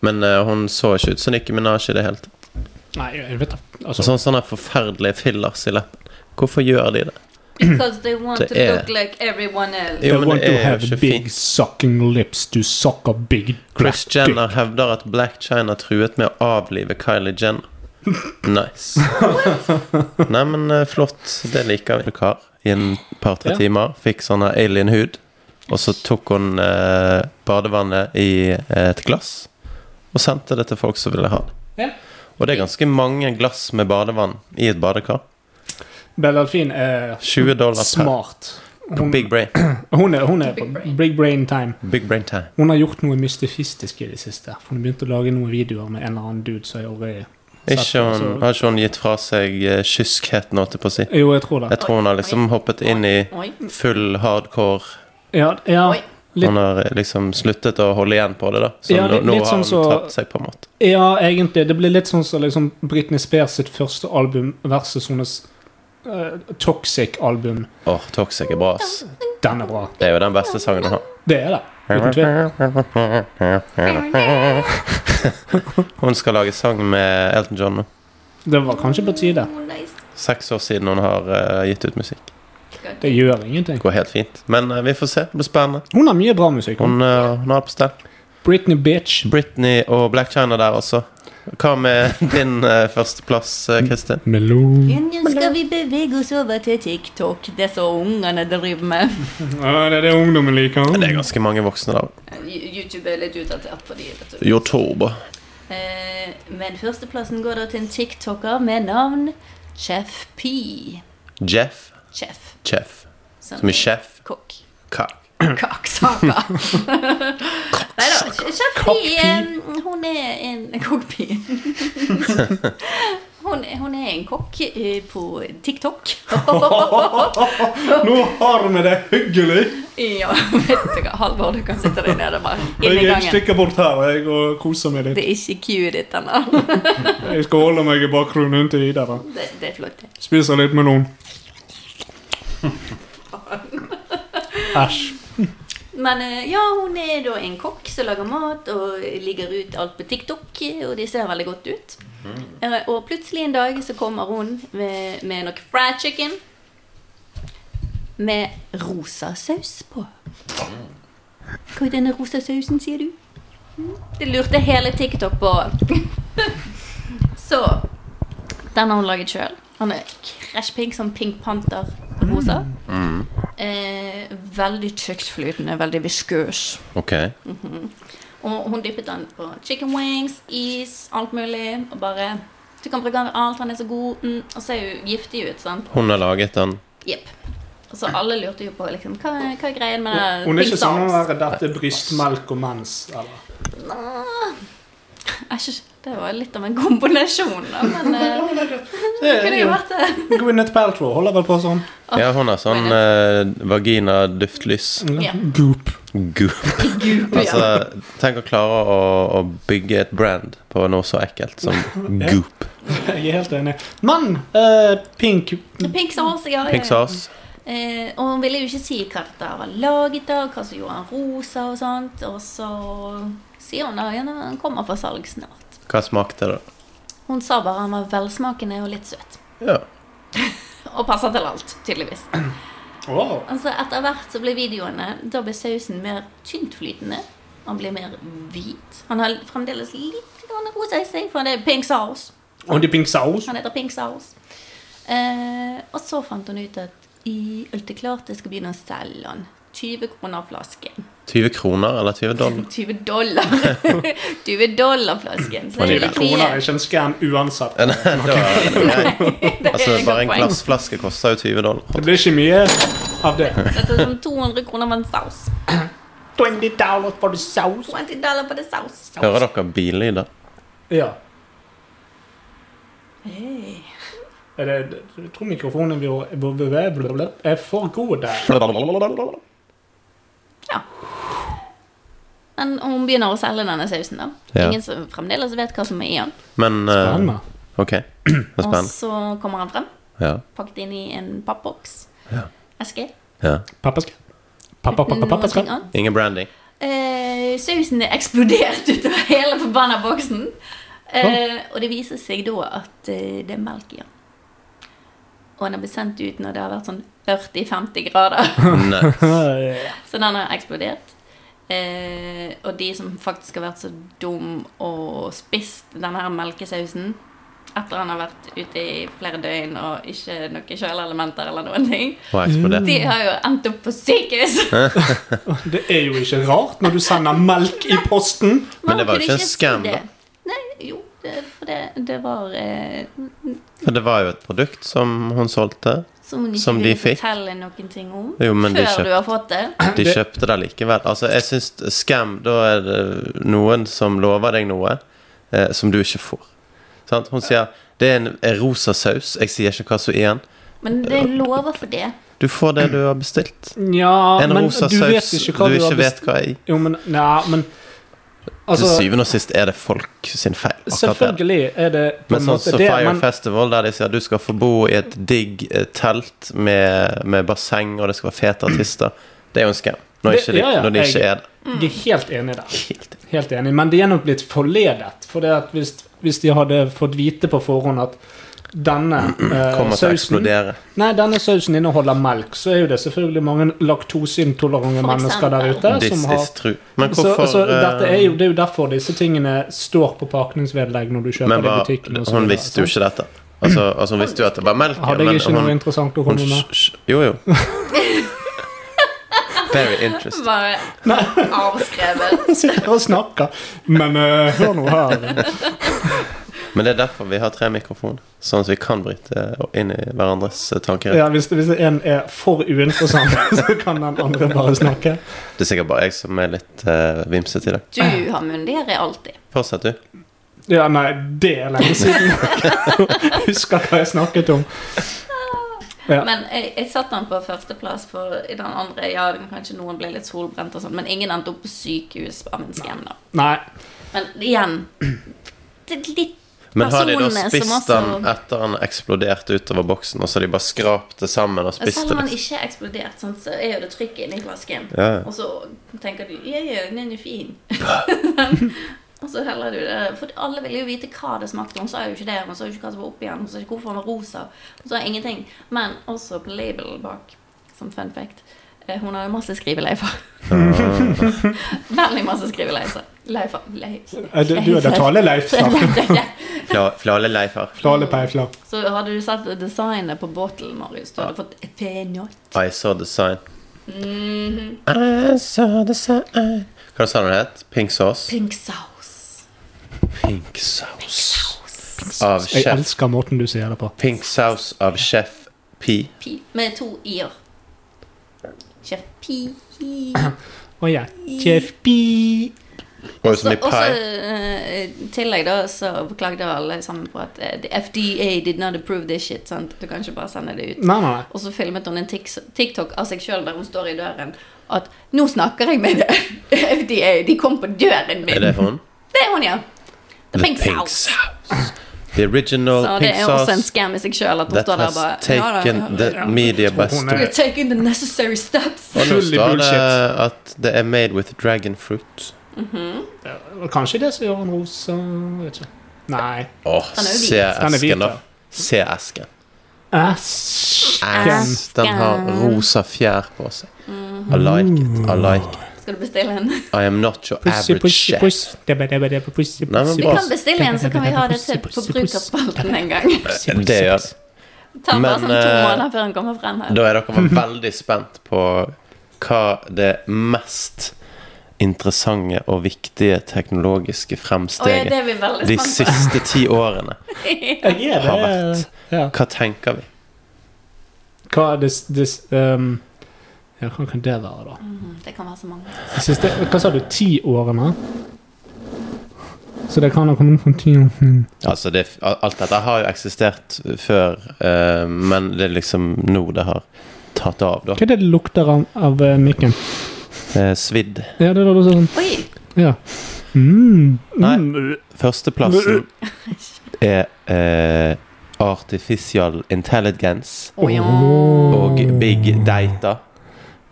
[SPEAKER 4] Men eh, hun så ikke ut som Nicki Minaj i det hele tatt.
[SPEAKER 3] Nei, jeg vet da
[SPEAKER 4] Og
[SPEAKER 3] altså,
[SPEAKER 4] Sånn sånne forferdelige fillers i leppen. Hvorfor gjør de det?
[SPEAKER 2] Because they want
[SPEAKER 4] Det
[SPEAKER 2] to
[SPEAKER 4] er-
[SPEAKER 2] look like everyone else.
[SPEAKER 4] Jo,
[SPEAKER 3] They
[SPEAKER 4] men
[SPEAKER 3] want
[SPEAKER 4] det
[SPEAKER 3] to
[SPEAKER 4] er jo
[SPEAKER 3] have
[SPEAKER 4] ikke
[SPEAKER 3] big
[SPEAKER 4] fint.
[SPEAKER 3] sucking lips to suck a big
[SPEAKER 4] Chris
[SPEAKER 3] black
[SPEAKER 4] Jenner
[SPEAKER 3] dick.
[SPEAKER 4] hevder at Black China truet med å avlive Kylie Jenner.
[SPEAKER 3] <laughs>
[SPEAKER 4] Nice. Nei, men eh, flott. Det liker vi. Kar i en par-tre
[SPEAKER 3] Ja.
[SPEAKER 4] timer fikk sånn her alien-hud. Og så tok hun eh, badevannet i eh, et glass og sendte det til folk som ville ha det.
[SPEAKER 3] Ja.
[SPEAKER 4] Og det er ganske mange glass med badevann i et badekar.
[SPEAKER 3] Bella Delphine er
[SPEAKER 4] 20 dollar per.
[SPEAKER 3] smart. Hun,
[SPEAKER 4] Big brain.
[SPEAKER 3] hun er, hun er
[SPEAKER 2] Big
[SPEAKER 3] på
[SPEAKER 2] brain.
[SPEAKER 3] big brain time.
[SPEAKER 4] Big brain time.
[SPEAKER 3] Hun har gjort noe mystifistisk i det siste. For hun begynte å lage noen videoer med en eller annen dude som jeg aldri
[SPEAKER 4] Ikke hun,
[SPEAKER 3] så-
[SPEAKER 4] har ikke hun gitt fra seg eh, kyskheten, holdt jeg på å si.
[SPEAKER 3] Jo, jeg tror det.
[SPEAKER 4] Jeg tror hun har liksom hoppet inn i
[SPEAKER 2] Oi.
[SPEAKER 4] full hardcore
[SPEAKER 3] Ja, ja
[SPEAKER 2] Oi.
[SPEAKER 3] Litt-
[SPEAKER 4] Hun har liksom sluttet å holde igjen på det, da. Så
[SPEAKER 3] Ja,
[SPEAKER 4] nå,
[SPEAKER 3] litt-
[SPEAKER 4] nå
[SPEAKER 3] litt
[SPEAKER 4] har
[SPEAKER 3] sånn
[SPEAKER 4] hun
[SPEAKER 3] så-
[SPEAKER 4] tatt seg, på en måte.
[SPEAKER 3] Ja, egentlig. Det blir litt sånn som liksom Britney Spears sitt første album versus hennes eh, Toxic-album.
[SPEAKER 4] Åh, Toxic er bra, ass.
[SPEAKER 3] Den er bra.
[SPEAKER 4] Det er jo den beste sangen hun har.
[SPEAKER 3] Det er det. Uten tvil.
[SPEAKER 4] <laughs> Hun skal lage sang med Elton John nå.
[SPEAKER 3] Det var kanskje på tide.
[SPEAKER 2] Oh, nice.
[SPEAKER 4] Seks år siden hun har eh, gitt ut musikk.
[SPEAKER 3] Det gjør ingenting.
[SPEAKER 4] Det går helt fint. Men eh, vi får se. Det blir spennende.
[SPEAKER 3] Hun har mye bra musikk. Hun.
[SPEAKER 4] Hun, eh, hun har det på stell.
[SPEAKER 3] Britney Bitch.
[SPEAKER 4] Britney og Black China der også. Hva med <laughs> din eh, førsteplass, eh, Kristin?
[SPEAKER 3] Melon.
[SPEAKER 2] Nå skal vi bevege oss over til TikTok, det som ungene driver med.
[SPEAKER 3] Ja, det er det ungdommen liker.
[SPEAKER 4] Det er ganske mange voksne der.
[SPEAKER 2] YouTube er litt utdatert for de, vet du.
[SPEAKER 4] Yotoba.
[SPEAKER 2] Eh, Men førsteplassen går da til en TikToker med navn Chef P.
[SPEAKER 4] Jeff.
[SPEAKER 2] Chef.
[SPEAKER 4] Chef.
[SPEAKER 2] Som
[SPEAKER 4] Som i chef.
[SPEAKER 2] Kokk.
[SPEAKER 4] Kak.
[SPEAKER 2] Kaksaka. Nei da, Chef P eh, hun er en kokkpi. <laughs> Hun, er- hun er en kokk eh, på TikTok.
[SPEAKER 3] Nå har vi det hyggelig.
[SPEAKER 2] Ja, vet du hva, Halvor, du kan sitte deg nede bare inn i gangen.
[SPEAKER 3] stikker bort her jeg, og koser meg
[SPEAKER 2] Det er ikke cue ditt ennå.
[SPEAKER 3] Jeg skal holde meg i bakgrunnen til videre.
[SPEAKER 2] <laughs> Det, det er flott. det.
[SPEAKER 3] Spiser litt melon. Æsj.
[SPEAKER 2] Men eh, ja, hun er da en kokk som lager mat og ligger ut alt på TikTok, og de eh, ser veldig godt ut. Eh, Og plutselig en dag så kommer hun med, med noe fried chicken med rosa saus på. Hva er denne rosa sausen, sier du? Mm, Det lurte hele TikTok på. <laughs> så den har hun laget sjøl. Han er krasjpink som Pink Panther rosa. Eh, veldig tjuktflytende, veldig viskøs.
[SPEAKER 4] Ok.
[SPEAKER 2] Og hun dyppet den på chicken wings, is, alt mulig. Og bare Du kan bruke den til alt, han er så god. Mm, og så er hun giftig ut, sant.
[SPEAKER 4] Hun har laget den.
[SPEAKER 2] Jepp. Og så alle lurte jo på liksom, hva, er- hva er greien med den
[SPEAKER 3] Hun er ikke
[SPEAKER 2] pink
[SPEAKER 3] sånn å
[SPEAKER 2] sauce?
[SPEAKER 3] være dette er brystmelk og mens, eller?
[SPEAKER 2] Nå. Æsj, det var litt av en kombinasjon, da. Men eh,
[SPEAKER 3] Det
[SPEAKER 2] det
[SPEAKER 3] er
[SPEAKER 2] kunne jo
[SPEAKER 3] jo
[SPEAKER 2] vært det.
[SPEAKER 3] Gwyneth Paltrow holder vel på sånn.
[SPEAKER 4] Ja, hun har sånn eh, vagina-duftlys.
[SPEAKER 2] Ja.
[SPEAKER 3] Goop.
[SPEAKER 4] Goop.
[SPEAKER 2] Goop, ja.
[SPEAKER 4] <laughs> Altså, tenk å klare å, å bygge et brand på noe så ekkelt
[SPEAKER 2] <laughs>
[SPEAKER 4] som goop.
[SPEAKER 3] Jeg er helt enig. Men eh, pink
[SPEAKER 2] Pink sauce, ja. ja,
[SPEAKER 4] Pink
[SPEAKER 2] ja.
[SPEAKER 4] sauce.
[SPEAKER 2] Eh, og hun ville jo ikke si hva dette var laget av, hva som gjorde han rosa og sånt. Og så sier hun da at han kommer for salg snart.
[SPEAKER 4] Hva smakte det?
[SPEAKER 2] Hun sa bare han var velsmakende og litt søt.
[SPEAKER 4] Ja.
[SPEAKER 2] Og passer til alt, tydeligvis.
[SPEAKER 3] wow.
[SPEAKER 2] Altså Etter hvert så ble videoene Da ble sausen mer tyntflytende. Han ble mer hvit. Han har fremdeles litt grann rosa i seg, for det er pink sauce.
[SPEAKER 3] Og de pink saus.
[SPEAKER 2] Han heter Pink Sauce. Eh, og så fant hun ut at i Ultiklart det skal begynne å selge han. 20 kroner flasken.
[SPEAKER 4] 20 kroner eller 20
[SPEAKER 2] <laughs>
[SPEAKER 4] dollar?
[SPEAKER 2] 20 dollar. 20 dollar flasken. Så det er
[SPEAKER 3] 20
[SPEAKER 2] litt
[SPEAKER 3] kroner er
[SPEAKER 2] mye.
[SPEAKER 3] ikke en skam uansett.
[SPEAKER 4] Nei, da, nei.
[SPEAKER 2] Det er
[SPEAKER 4] Altså,
[SPEAKER 2] et
[SPEAKER 4] bare en
[SPEAKER 2] godt poeng.
[SPEAKER 4] glassflaske koster jo 20 dollar.
[SPEAKER 3] Det blir ikke mye av det.
[SPEAKER 2] Dette er som 200 kroner for en saus.
[SPEAKER 3] 20 dollars for the saus.
[SPEAKER 2] 20 dollar for en saus.
[SPEAKER 4] Hører dere billyder?
[SPEAKER 3] Ja.
[SPEAKER 2] Hey.
[SPEAKER 3] Er det, jeg tror mikrofonen vår blablabla, er for god der.
[SPEAKER 2] Ja. Men hun begynner å selge denne sausen, da.
[SPEAKER 4] Ja.
[SPEAKER 2] Ingen som fremdeles vet hva som er i den.
[SPEAKER 4] Men eh,
[SPEAKER 3] Spennende.
[SPEAKER 4] OK. <clears throat> Det er
[SPEAKER 2] Og
[SPEAKER 4] spennende.
[SPEAKER 2] så kommer han frem,
[SPEAKER 4] Ja.
[SPEAKER 2] pakket inn i en pappboks.
[SPEAKER 4] Ja.
[SPEAKER 2] Eske.
[SPEAKER 4] ja.
[SPEAKER 3] Pappaskap. Pappa, pappa,
[SPEAKER 2] Noe
[SPEAKER 3] pappaskap.
[SPEAKER 2] ting annet.
[SPEAKER 4] Ingen
[SPEAKER 2] <laughs>
[SPEAKER 4] branding.
[SPEAKER 2] Eh, sausen er eksplodert <laughs> utover hele forbanna boksen. Eh, og det viser seg da at eh, det er melk i den. Og den er blitt sendt ut når det har vært sånn 40-50 grader. <laughs>
[SPEAKER 4] Nei.
[SPEAKER 3] Eh,
[SPEAKER 2] Så den har eksplodert. Eh, og de som faktisk har vært så dum og spist denne her melkesausen etter han har vært ute i flere døgn og ikke noe kjøleelementer eller noen ting,
[SPEAKER 4] Og eksplodert.
[SPEAKER 2] de har jo endt opp på sykehus.
[SPEAKER 3] Det er jo ikke rart når du sender melk i posten.
[SPEAKER 4] Men det var
[SPEAKER 2] Man
[SPEAKER 4] jo ikke en
[SPEAKER 2] kunne si
[SPEAKER 4] scam,
[SPEAKER 2] det.
[SPEAKER 4] da.
[SPEAKER 2] Nei, jo, det, for det, det var eh,
[SPEAKER 4] For det var jo et produkt som hun solgte.
[SPEAKER 2] Som hun ikke
[SPEAKER 4] Som de
[SPEAKER 2] ville
[SPEAKER 4] fikk.
[SPEAKER 2] fortelle noen ting om
[SPEAKER 4] Jo, men de
[SPEAKER 2] før
[SPEAKER 4] kjøpte-
[SPEAKER 2] du har fått det.
[SPEAKER 4] De
[SPEAKER 3] Det-
[SPEAKER 4] kjøpte det likevel. Altså, jeg syns scam, da er det noen som lover deg noe eh, som du ikke får. Sant? Hun sier 'det er en en rosa saus'. Jeg sier ikke hva som er i den.
[SPEAKER 2] Men det er lover for det.
[SPEAKER 4] Du får det du har bestilt.
[SPEAKER 3] Ja,
[SPEAKER 4] En
[SPEAKER 3] men
[SPEAKER 4] rosa
[SPEAKER 3] du vet
[SPEAKER 4] saus
[SPEAKER 3] ikke hva
[SPEAKER 4] du
[SPEAKER 3] du har
[SPEAKER 4] ikke vet
[SPEAKER 3] bestilt.
[SPEAKER 4] hva er i.
[SPEAKER 3] Jo, men, ja, men
[SPEAKER 4] Til
[SPEAKER 3] altså,
[SPEAKER 4] syvende og sist er det folk sin feil. akkurat det.
[SPEAKER 3] Selvfølgelig er det på
[SPEAKER 4] Men
[SPEAKER 3] en
[SPEAKER 4] sånn
[SPEAKER 3] måte
[SPEAKER 4] som
[SPEAKER 3] det,
[SPEAKER 4] Fire
[SPEAKER 3] men
[SPEAKER 4] Festival, der de sier du skal få bo i et digg eh, telt med, med basseng, og det skal være fete artister, det er jo en scam. Når,
[SPEAKER 3] Det-
[SPEAKER 4] ikke de,
[SPEAKER 3] ja, ja,
[SPEAKER 4] når de
[SPEAKER 3] jeg-
[SPEAKER 4] ikke er det.
[SPEAKER 3] de er helt enige der.
[SPEAKER 4] Helt
[SPEAKER 3] Helt enig, men de er nok blitt forledet. For det at hvis, hvis de hadde fått vite på forhånd at
[SPEAKER 4] <clears throat>
[SPEAKER 3] denne eh,
[SPEAKER 4] kommer til å
[SPEAKER 3] sausen
[SPEAKER 4] eksplodere.
[SPEAKER 3] Nei, denne sausen inneholder melk, så er jo det selvfølgelig mange laktoseintolerante
[SPEAKER 2] For
[SPEAKER 3] mennesker der ute
[SPEAKER 2] eksempel.
[SPEAKER 4] This
[SPEAKER 3] som har
[SPEAKER 4] is true. Men
[SPEAKER 3] så,
[SPEAKER 4] hvorfor
[SPEAKER 3] så dette er jo,
[SPEAKER 4] eh,
[SPEAKER 3] Det er jo derfor disse tingene står på pakningsvedlegg når du kjøper
[SPEAKER 4] Men
[SPEAKER 3] det i
[SPEAKER 4] hva,
[SPEAKER 3] butikken. og så
[SPEAKER 4] hun
[SPEAKER 3] videre,
[SPEAKER 4] visste jo
[SPEAKER 3] sant?
[SPEAKER 4] ikke dette. Altså, altså hun visste jo at det var melk. ja,
[SPEAKER 3] Hadde
[SPEAKER 4] men
[SPEAKER 3] jeg ikke noe
[SPEAKER 4] hun-
[SPEAKER 3] interessant å
[SPEAKER 4] hun <laughs>
[SPEAKER 3] komme med?
[SPEAKER 4] sj- sj- Jo, jo. Very interesting.
[SPEAKER 2] Bare avskrevet.
[SPEAKER 3] Sitter og snakker. Men eh, hør nå her.
[SPEAKER 4] Men det er derfor vi har tre mikrofoner. Sånn at vi kan bryte inn i hverandres eh, tanker.
[SPEAKER 3] Ja, hvis, hvis en er for uinteressant, <laughs> så kan den andre bare snakke.
[SPEAKER 4] Det er sikkert bare jeg som er litt eh, vimsete i dag.
[SPEAKER 2] Du har munn, det har jeg alltid.
[SPEAKER 4] Fortsett, du.
[SPEAKER 3] Ja, nei, det er lenge siden. <laughs> Jeg Husker hva jeg snakket om. Ja.
[SPEAKER 2] Men jeg, jeg satte den på førsteplass, for i den andre ja, den kanskje noen ble litt solbrent, og sånn, men ingen endte opp på sykehus av en skam. da.
[SPEAKER 3] Nei.
[SPEAKER 2] Men igjen det er litt
[SPEAKER 4] Men har de da
[SPEAKER 2] personene som
[SPEAKER 4] spist
[SPEAKER 2] også-
[SPEAKER 4] den etter han eksploderte utover boksen, og så har de bare skrapt det sammen og spist
[SPEAKER 2] Selv
[SPEAKER 4] det?
[SPEAKER 2] om han
[SPEAKER 4] liksom?
[SPEAKER 2] ikke er eksplodert, sånn, så er jo det trykket inni flasken.
[SPEAKER 4] Ja.
[SPEAKER 2] Og så tenker du ja, ja, den er jo fin. Og så heller du det. For alle ville jo vite hva det smakte. Hun sa jo ikke det. Hun sa jo ikke hva som var oppi den. Hun sa ikke hvorfor den var rosa. Hun sa ingenting. Men også på labelen bak, som fun fact, eh, hun har jo masse skriveleifer. <laughs> Veldig masse skriveleifer. Leifer.
[SPEAKER 3] <laughs>
[SPEAKER 2] Leifer.
[SPEAKER 3] Eh, Du, du er det
[SPEAKER 2] <laughs>
[SPEAKER 3] Tale-Leif, snart.
[SPEAKER 4] Fla- Flaleleifer.
[SPEAKER 3] Flalepeifler.
[SPEAKER 2] Så hadde du sett designet på bottlen, Marius, du hadde fått penjott.
[SPEAKER 4] I saw the sign.
[SPEAKER 2] Mhm.
[SPEAKER 4] I saw the sign Hva sa du den het? Pink sauce?
[SPEAKER 2] Pink sauce.
[SPEAKER 4] Pink sauce. Av
[SPEAKER 3] Jeg
[SPEAKER 4] chef
[SPEAKER 3] elsker måten du sier det på.
[SPEAKER 4] Pink sauce av chef P.
[SPEAKER 2] Pi. Med to i-er. Chef Pi.
[SPEAKER 3] Å ja. Kjefpi.
[SPEAKER 4] Og
[SPEAKER 2] Så,
[SPEAKER 4] som i
[SPEAKER 2] og så
[SPEAKER 4] pie.
[SPEAKER 2] eh, i tillegg da, så klagde alle sammen på at eh, the FDA did not approve this shit, sant? Du kan ikke bare sende det
[SPEAKER 4] Mm.
[SPEAKER 2] ut.
[SPEAKER 3] Nei, nei, nei.
[SPEAKER 2] Og så filmet hun en tiks- TikTok av seg selv der hun står i døren, at nå snakker jeg med <laughs> FDA, de kom på døren
[SPEAKER 4] Er
[SPEAKER 2] min.
[SPEAKER 4] det hun?
[SPEAKER 2] Det er hun, ja. The
[SPEAKER 4] The
[SPEAKER 2] pink sauce.
[SPEAKER 4] The original
[SPEAKER 2] Så det
[SPEAKER 4] pink
[SPEAKER 2] er også en
[SPEAKER 4] sauce
[SPEAKER 2] skam i seg selv at hun
[SPEAKER 4] that
[SPEAKER 2] står der
[SPEAKER 4] has
[SPEAKER 2] og bare, ja, da,
[SPEAKER 4] taken the media
[SPEAKER 3] Hun
[SPEAKER 4] by storm.
[SPEAKER 3] er-
[SPEAKER 2] We're taking the necessary steps.
[SPEAKER 4] Og nå
[SPEAKER 3] Full i
[SPEAKER 4] står det
[SPEAKER 3] bullshit.
[SPEAKER 4] at det er made with dragon fruit.
[SPEAKER 3] Det var Kanskje det som gjør han rosa Vet ikke. Nei.
[SPEAKER 4] Åh,
[SPEAKER 2] Den er jo hvit.
[SPEAKER 4] se
[SPEAKER 3] Den er hvit,
[SPEAKER 4] esken, da.
[SPEAKER 3] da.
[SPEAKER 4] Se esken.
[SPEAKER 3] Æsken.
[SPEAKER 4] Ass, den har rosa fjær på seg. I like it. I like it.
[SPEAKER 2] Skal du bestille en?
[SPEAKER 4] I am not your
[SPEAKER 3] Pussy,
[SPEAKER 4] average
[SPEAKER 3] pussy,
[SPEAKER 4] chef.
[SPEAKER 3] pussy. Dabba, dabba, dabba, pussy,
[SPEAKER 4] Nei, men
[SPEAKER 3] pussy,
[SPEAKER 2] Vi
[SPEAKER 4] bra.
[SPEAKER 3] pussy.
[SPEAKER 2] kan bestille en, så kan vi ha det til
[SPEAKER 3] Pussy, pussy, pussy.
[SPEAKER 2] forbrukerspalten en gang.
[SPEAKER 4] Det gjør det.
[SPEAKER 2] Ta bare
[SPEAKER 4] Men,
[SPEAKER 2] sånn to
[SPEAKER 4] eh,
[SPEAKER 2] måneder før han kommer frem her.
[SPEAKER 4] Da er dere veldig spent på hva det mest interessante og viktige teknologiske
[SPEAKER 2] Og ja, det
[SPEAKER 4] fremsteget
[SPEAKER 2] er vi veldig
[SPEAKER 4] de
[SPEAKER 2] spent på.
[SPEAKER 4] siste ti årene
[SPEAKER 3] Jeg er
[SPEAKER 4] har
[SPEAKER 3] det.
[SPEAKER 4] vært.
[SPEAKER 3] Ja.
[SPEAKER 4] Hva tenker vi?
[SPEAKER 3] Hva er this, this, um, ja, hva kan det være, da?
[SPEAKER 2] Mm, <laughs> Det kan være så mange.
[SPEAKER 3] De Siste, hva sa du? Ti årene? Så det kan ha kommet fra ti år mm.
[SPEAKER 4] Altså, det, alt dette har jo eksistert før, eh, men det er liksom nå det har tatt av, da.
[SPEAKER 3] Hva er det det lukter av, av eh, mikken?
[SPEAKER 4] Eh, svidd.
[SPEAKER 3] Ja, det er da du sa sånn
[SPEAKER 2] Oi!
[SPEAKER 3] Ja. Mm.
[SPEAKER 4] Nei.
[SPEAKER 3] Mm.
[SPEAKER 4] Førsteplassen er eh, Artificial Intelligence
[SPEAKER 2] Å ja.
[SPEAKER 4] og Big Data.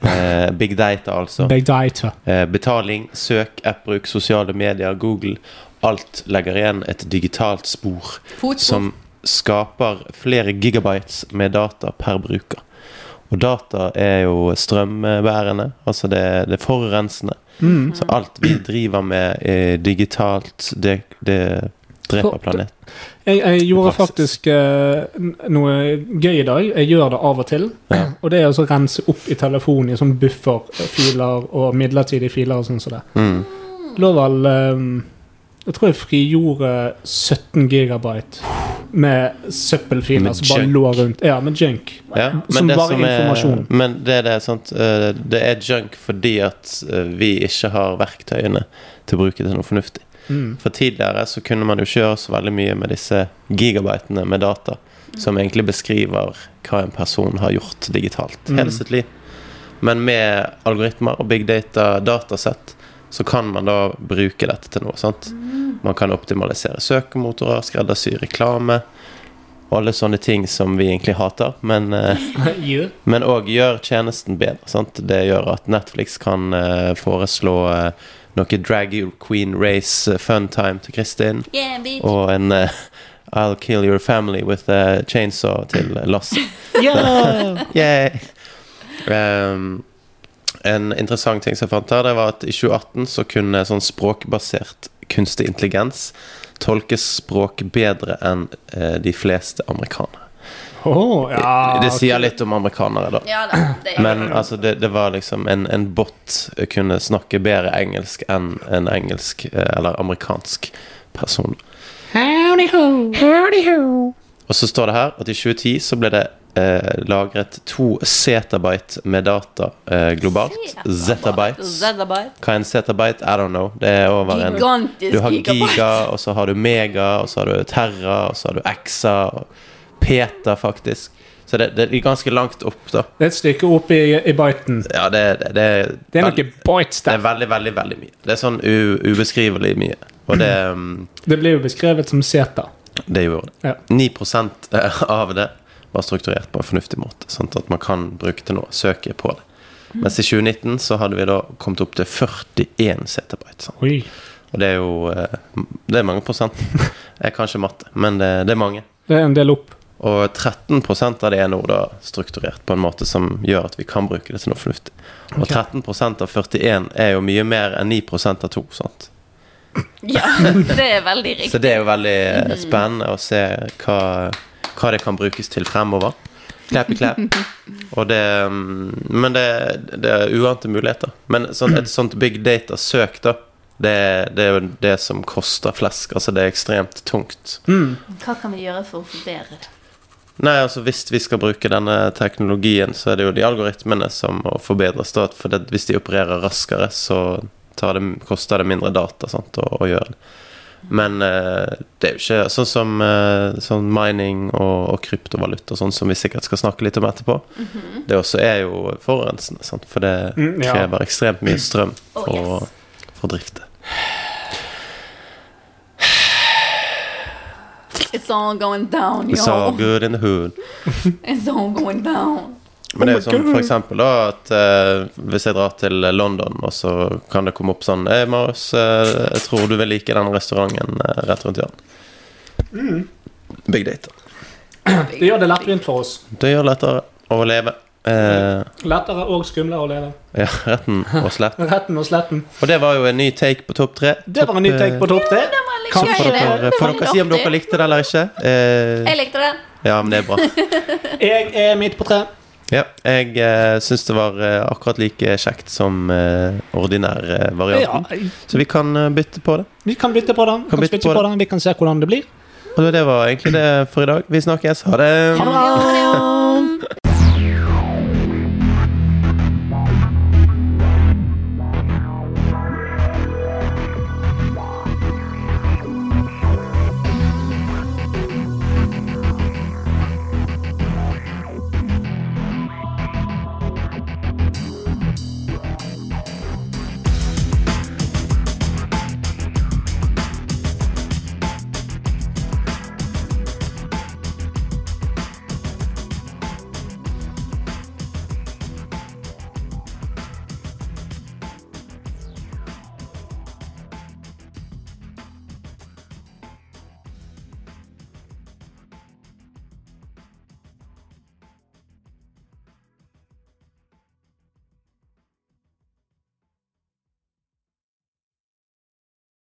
[SPEAKER 4] Eh, big Data, altså.
[SPEAKER 3] Big data.
[SPEAKER 4] Eh, betaling, søk, appbruk, sosiale medier, Google. Alt legger igjen et digitalt spor
[SPEAKER 2] Fotspor.
[SPEAKER 4] som skaper flere gigabytes med data per bruker. Og data er jo strømbærende, altså det, det er forurensende.
[SPEAKER 3] Mm.
[SPEAKER 4] Så alt vi driver med eh, digitalt, det, det dreper
[SPEAKER 3] For-
[SPEAKER 4] planet.
[SPEAKER 3] Jeg, jeg gjorde
[SPEAKER 4] Praksis.
[SPEAKER 3] faktisk eh, n- noe gøy i dag. Jeg gjør det av og til.
[SPEAKER 4] Ja.
[SPEAKER 3] Og det er å rense opp i telefonen i sånn bufferfiler og midlertidige filer og sånn som det.
[SPEAKER 4] Mm.
[SPEAKER 3] lå vel ehm, Jeg tror jeg frigjorde 17 gigabyte med søppelfiler
[SPEAKER 4] Med
[SPEAKER 3] som bare
[SPEAKER 4] junk.
[SPEAKER 3] lå rundt. Ja, med junk.
[SPEAKER 4] Ja,
[SPEAKER 3] Som bare
[SPEAKER 4] er,
[SPEAKER 3] informasjon.
[SPEAKER 4] men det er det, sant? eh, det er junk fordi at eh, vi ikke har verktøyene til å bruke det til noe fornuftig. <laughs>
[SPEAKER 3] Mm.
[SPEAKER 4] For tidligere så kunne man jo ikke gjøre så veldig mye med disse gigabytene med data, som egentlig beskriver hva en person har gjort digitalt
[SPEAKER 3] Mm.
[SPEAKER 4] hele sitt liv. Men med algoritmer og big data datasett så kan man da bruke dette til noe. sant?
[SPEAKER 2] Mm.
[SPEAKER 4] Man kan optimalisere søkemotorer, skreddersy reklame og alle sånne ting som vi egentlig hater. Men eh,
[SPEAKER 3] Jo.
[SPEAKER 4] men òg gjør tjenesten bedre. Sant? Det gjør at Netflix kan eh, foreslå eh, noe drag your queen race eh, fun time til Kristin.
[SPEAKER 2] Yeah, bitch.
[SPEAKER 4] Og en eh, I'll kill your family with a chainsaw til Lasse.
[SPEAKER 3] Ja!
[SPEAKER 4] <laughs> Yay! Ehm, en interessant ting som jeg fant her, det var at i 2018 så kunne sånn språkbasert kunstig intelligens tolke språk bedre enn eh, de fleste amerikanere.
[SPEAKER 3] Åh, ja.
[SPEAKER 4] det sier litt om amerikanere, da.
[SPEAKER 2] Ja da, det er
[SPEAKER 4] Men altså, det, det var liksom en, en bot kunne snakke bedre engelsk enn en engelsk eh, eller amerikansk person.
[SPEAKER 3] Howdy ho.
[SPEAKER 4] Og så står det her at i 2010 så ble det eh, lagret to zettabyte med data eh, globalt. Zettabytes.
[SPEAKER 2] Zettabyte.
[SPEAKER 4] Hva er en zettabyte? I don't know. Det er over en
[SPEAKER 2] Gigantisk
[SPEAKER 4] Du har
[SPEAKER 2] gigabyte.
[SPEAKER 4] giga, og så har du mega, og så har du terra, og så har du exa, og peta, faktisk. Så det, det er ganske langt opp, da.
[SPEAKER 3] Det er et stykke opp i, i biten.
[SPEAKER 4] Ja, det, det, det,
[SPEAKER 3] Det er noe bites
[SPEAKER 4] Det er
[SPEAKER 3] der.
[SPEAKER 4] veldig, veldig veldig mye. Det er sånn u ubeskrivelig mye. Og det, um,
[SPEAKER 3] Det blir jo beskrevet som seta.
[SPEAKER 4] det gjorde det.
[SPEAKER 3] Mm. Ja.
[SPEAKER 4] 9 av det var strukturert på en fornuftig måte. Sånn at man kan bruke til noe. Søke på
[SPEAKER 3] Mm.
[SPEAKER 4] det. Mens i 2019 så hadde vi da kommet opp til 41 zettabyte. Sant?
[SPEAKER 3] Oi.
[SPEAKER 4] sånn. Og det er jo eh, Det er mange prosent. <laughs> Jeg kan ikke matte, men det, det er mange.
[SPEAKER 5] Det er en del opp.
[SPEAKER 4] Og 13 av det er nå da strukturert på en måte som gjør at vi kan bruke det til noe fornuftig. Og
[SPEAKER 5] Ok.
[SPEAKER 4] 13 av 41 er jo mye mer enn 9 av 2. Sant?
[SPEAKER 2] <laughs> Ja, det er veldig
[SPEAKER 4] Så
[SPEAKER 2] riktig.
[SPEAKER 4] det er jo veldig eh, spennende å se hva, hva det kan brukes til fremover. Klæp i klæp. Og det, mm, men det, det er uante muligheter. Men sånn, et sånt big data-søk, da, det, det er jo det som koster flesk. Altså, det er ekstremt tungt.
[SPEAKER 3] Mm.
[SPEAKER 2] Hva kan vi gjøre for å forbedre det?
[SPEAKER 4] Nei, altså Hvis vi skal bruke denne teknologien, så er det jo de algoritmene som må forbedres. da, For det, hvis de opererer raskere, så tar det, koster det mindre data sant, å, å gjøre det. Men eh, det er jo ikke sånn som eh, sånn mining og, og kryptovaluta, sånn som vi sikkert skal snakke litt om etterpå. Det også er jo forurensende, sant? for det
[SPEAKER 5] Mm, ja.
[SPEAKER 4] krever ekstremt mye strøm
[SPEAKER 2] Oh,
[SPEAKER 4] for, å- for å drifte.
[SPEAKER 2] It's all going down,
[SPEAKER 4] It's all good in the hood.
[SPEAKER 2] It's all going down.
[SPEAKER 4] Men det er jo sånn for eksempel da at eh, hvis jeg drar til London, og så kan det komme opp sånn Hei, Marius, eh, jeg tror du vil like den restauranten eh, rett rundt hjørnet.
[SPEAKER 5] Mm.
[SPEAKER 4] Big data.
[SPEAKER 5] Det gjør det lettvint for oss.
[SPEAKER 4] Det gjør det lettere å leve. Eh,
[SPEAKER 5] Lettere og skumlere å leve.
[SPEAKER 4] ja, retten og slett.
[SPEAKER 5] Retten og sletten.
[SPEAKER 4] Og det var jo en ny take på topp tre.
[SPEAKER 5] Det var en ny
[SPEAKER 4] Topp, eh,
[SPEAKER 5] take på topp tre.
[SPEAKER 2] Det var litt
[SPEAKER 5] Kan
[SPEAKER 2] gøy,
[SPEAKER 4] Får
[SPEAKER 2] det.
[SPEAKER 4] dere,
[SPEAKER 2] Det var
[SPEAKER 4] får
[SPEAKER 2] litt
[SPEAKER 4] dere si om
[SPEAKER 2] artig.
[SPEAKER 4] dere likte det eller ikke?
[SPEAKER 2] Jeg
[SPEAKER 4] Eh,
[SPEAKER 2] likte det.
[SPEAKER 4] ja, men det er bra.
[SPEAKER 5] Jeg er midt på tre.
[SPEAKER 4] Ja, jeg eh, syns det var eh, akkurat like kjekt som eh, ordinær eh,
[SPEAKER 5] Ja,
[SPEAKER 4] varianten. Så vi kan eh, bytte på det.
[SPEAKER 5] vi kan bytte på den. Kan
[SPEAKER 4] bytte
[SPEAKER 5] bytte
[SPEAKER 4] på
[SPEAKER 5] på den. Vi kan se hvordan det blir.
[SPEAKER 4] Og det var egentlig det for i dag. Vi snakkes. Ha det.
[SPEAKER 5] Ha det bra.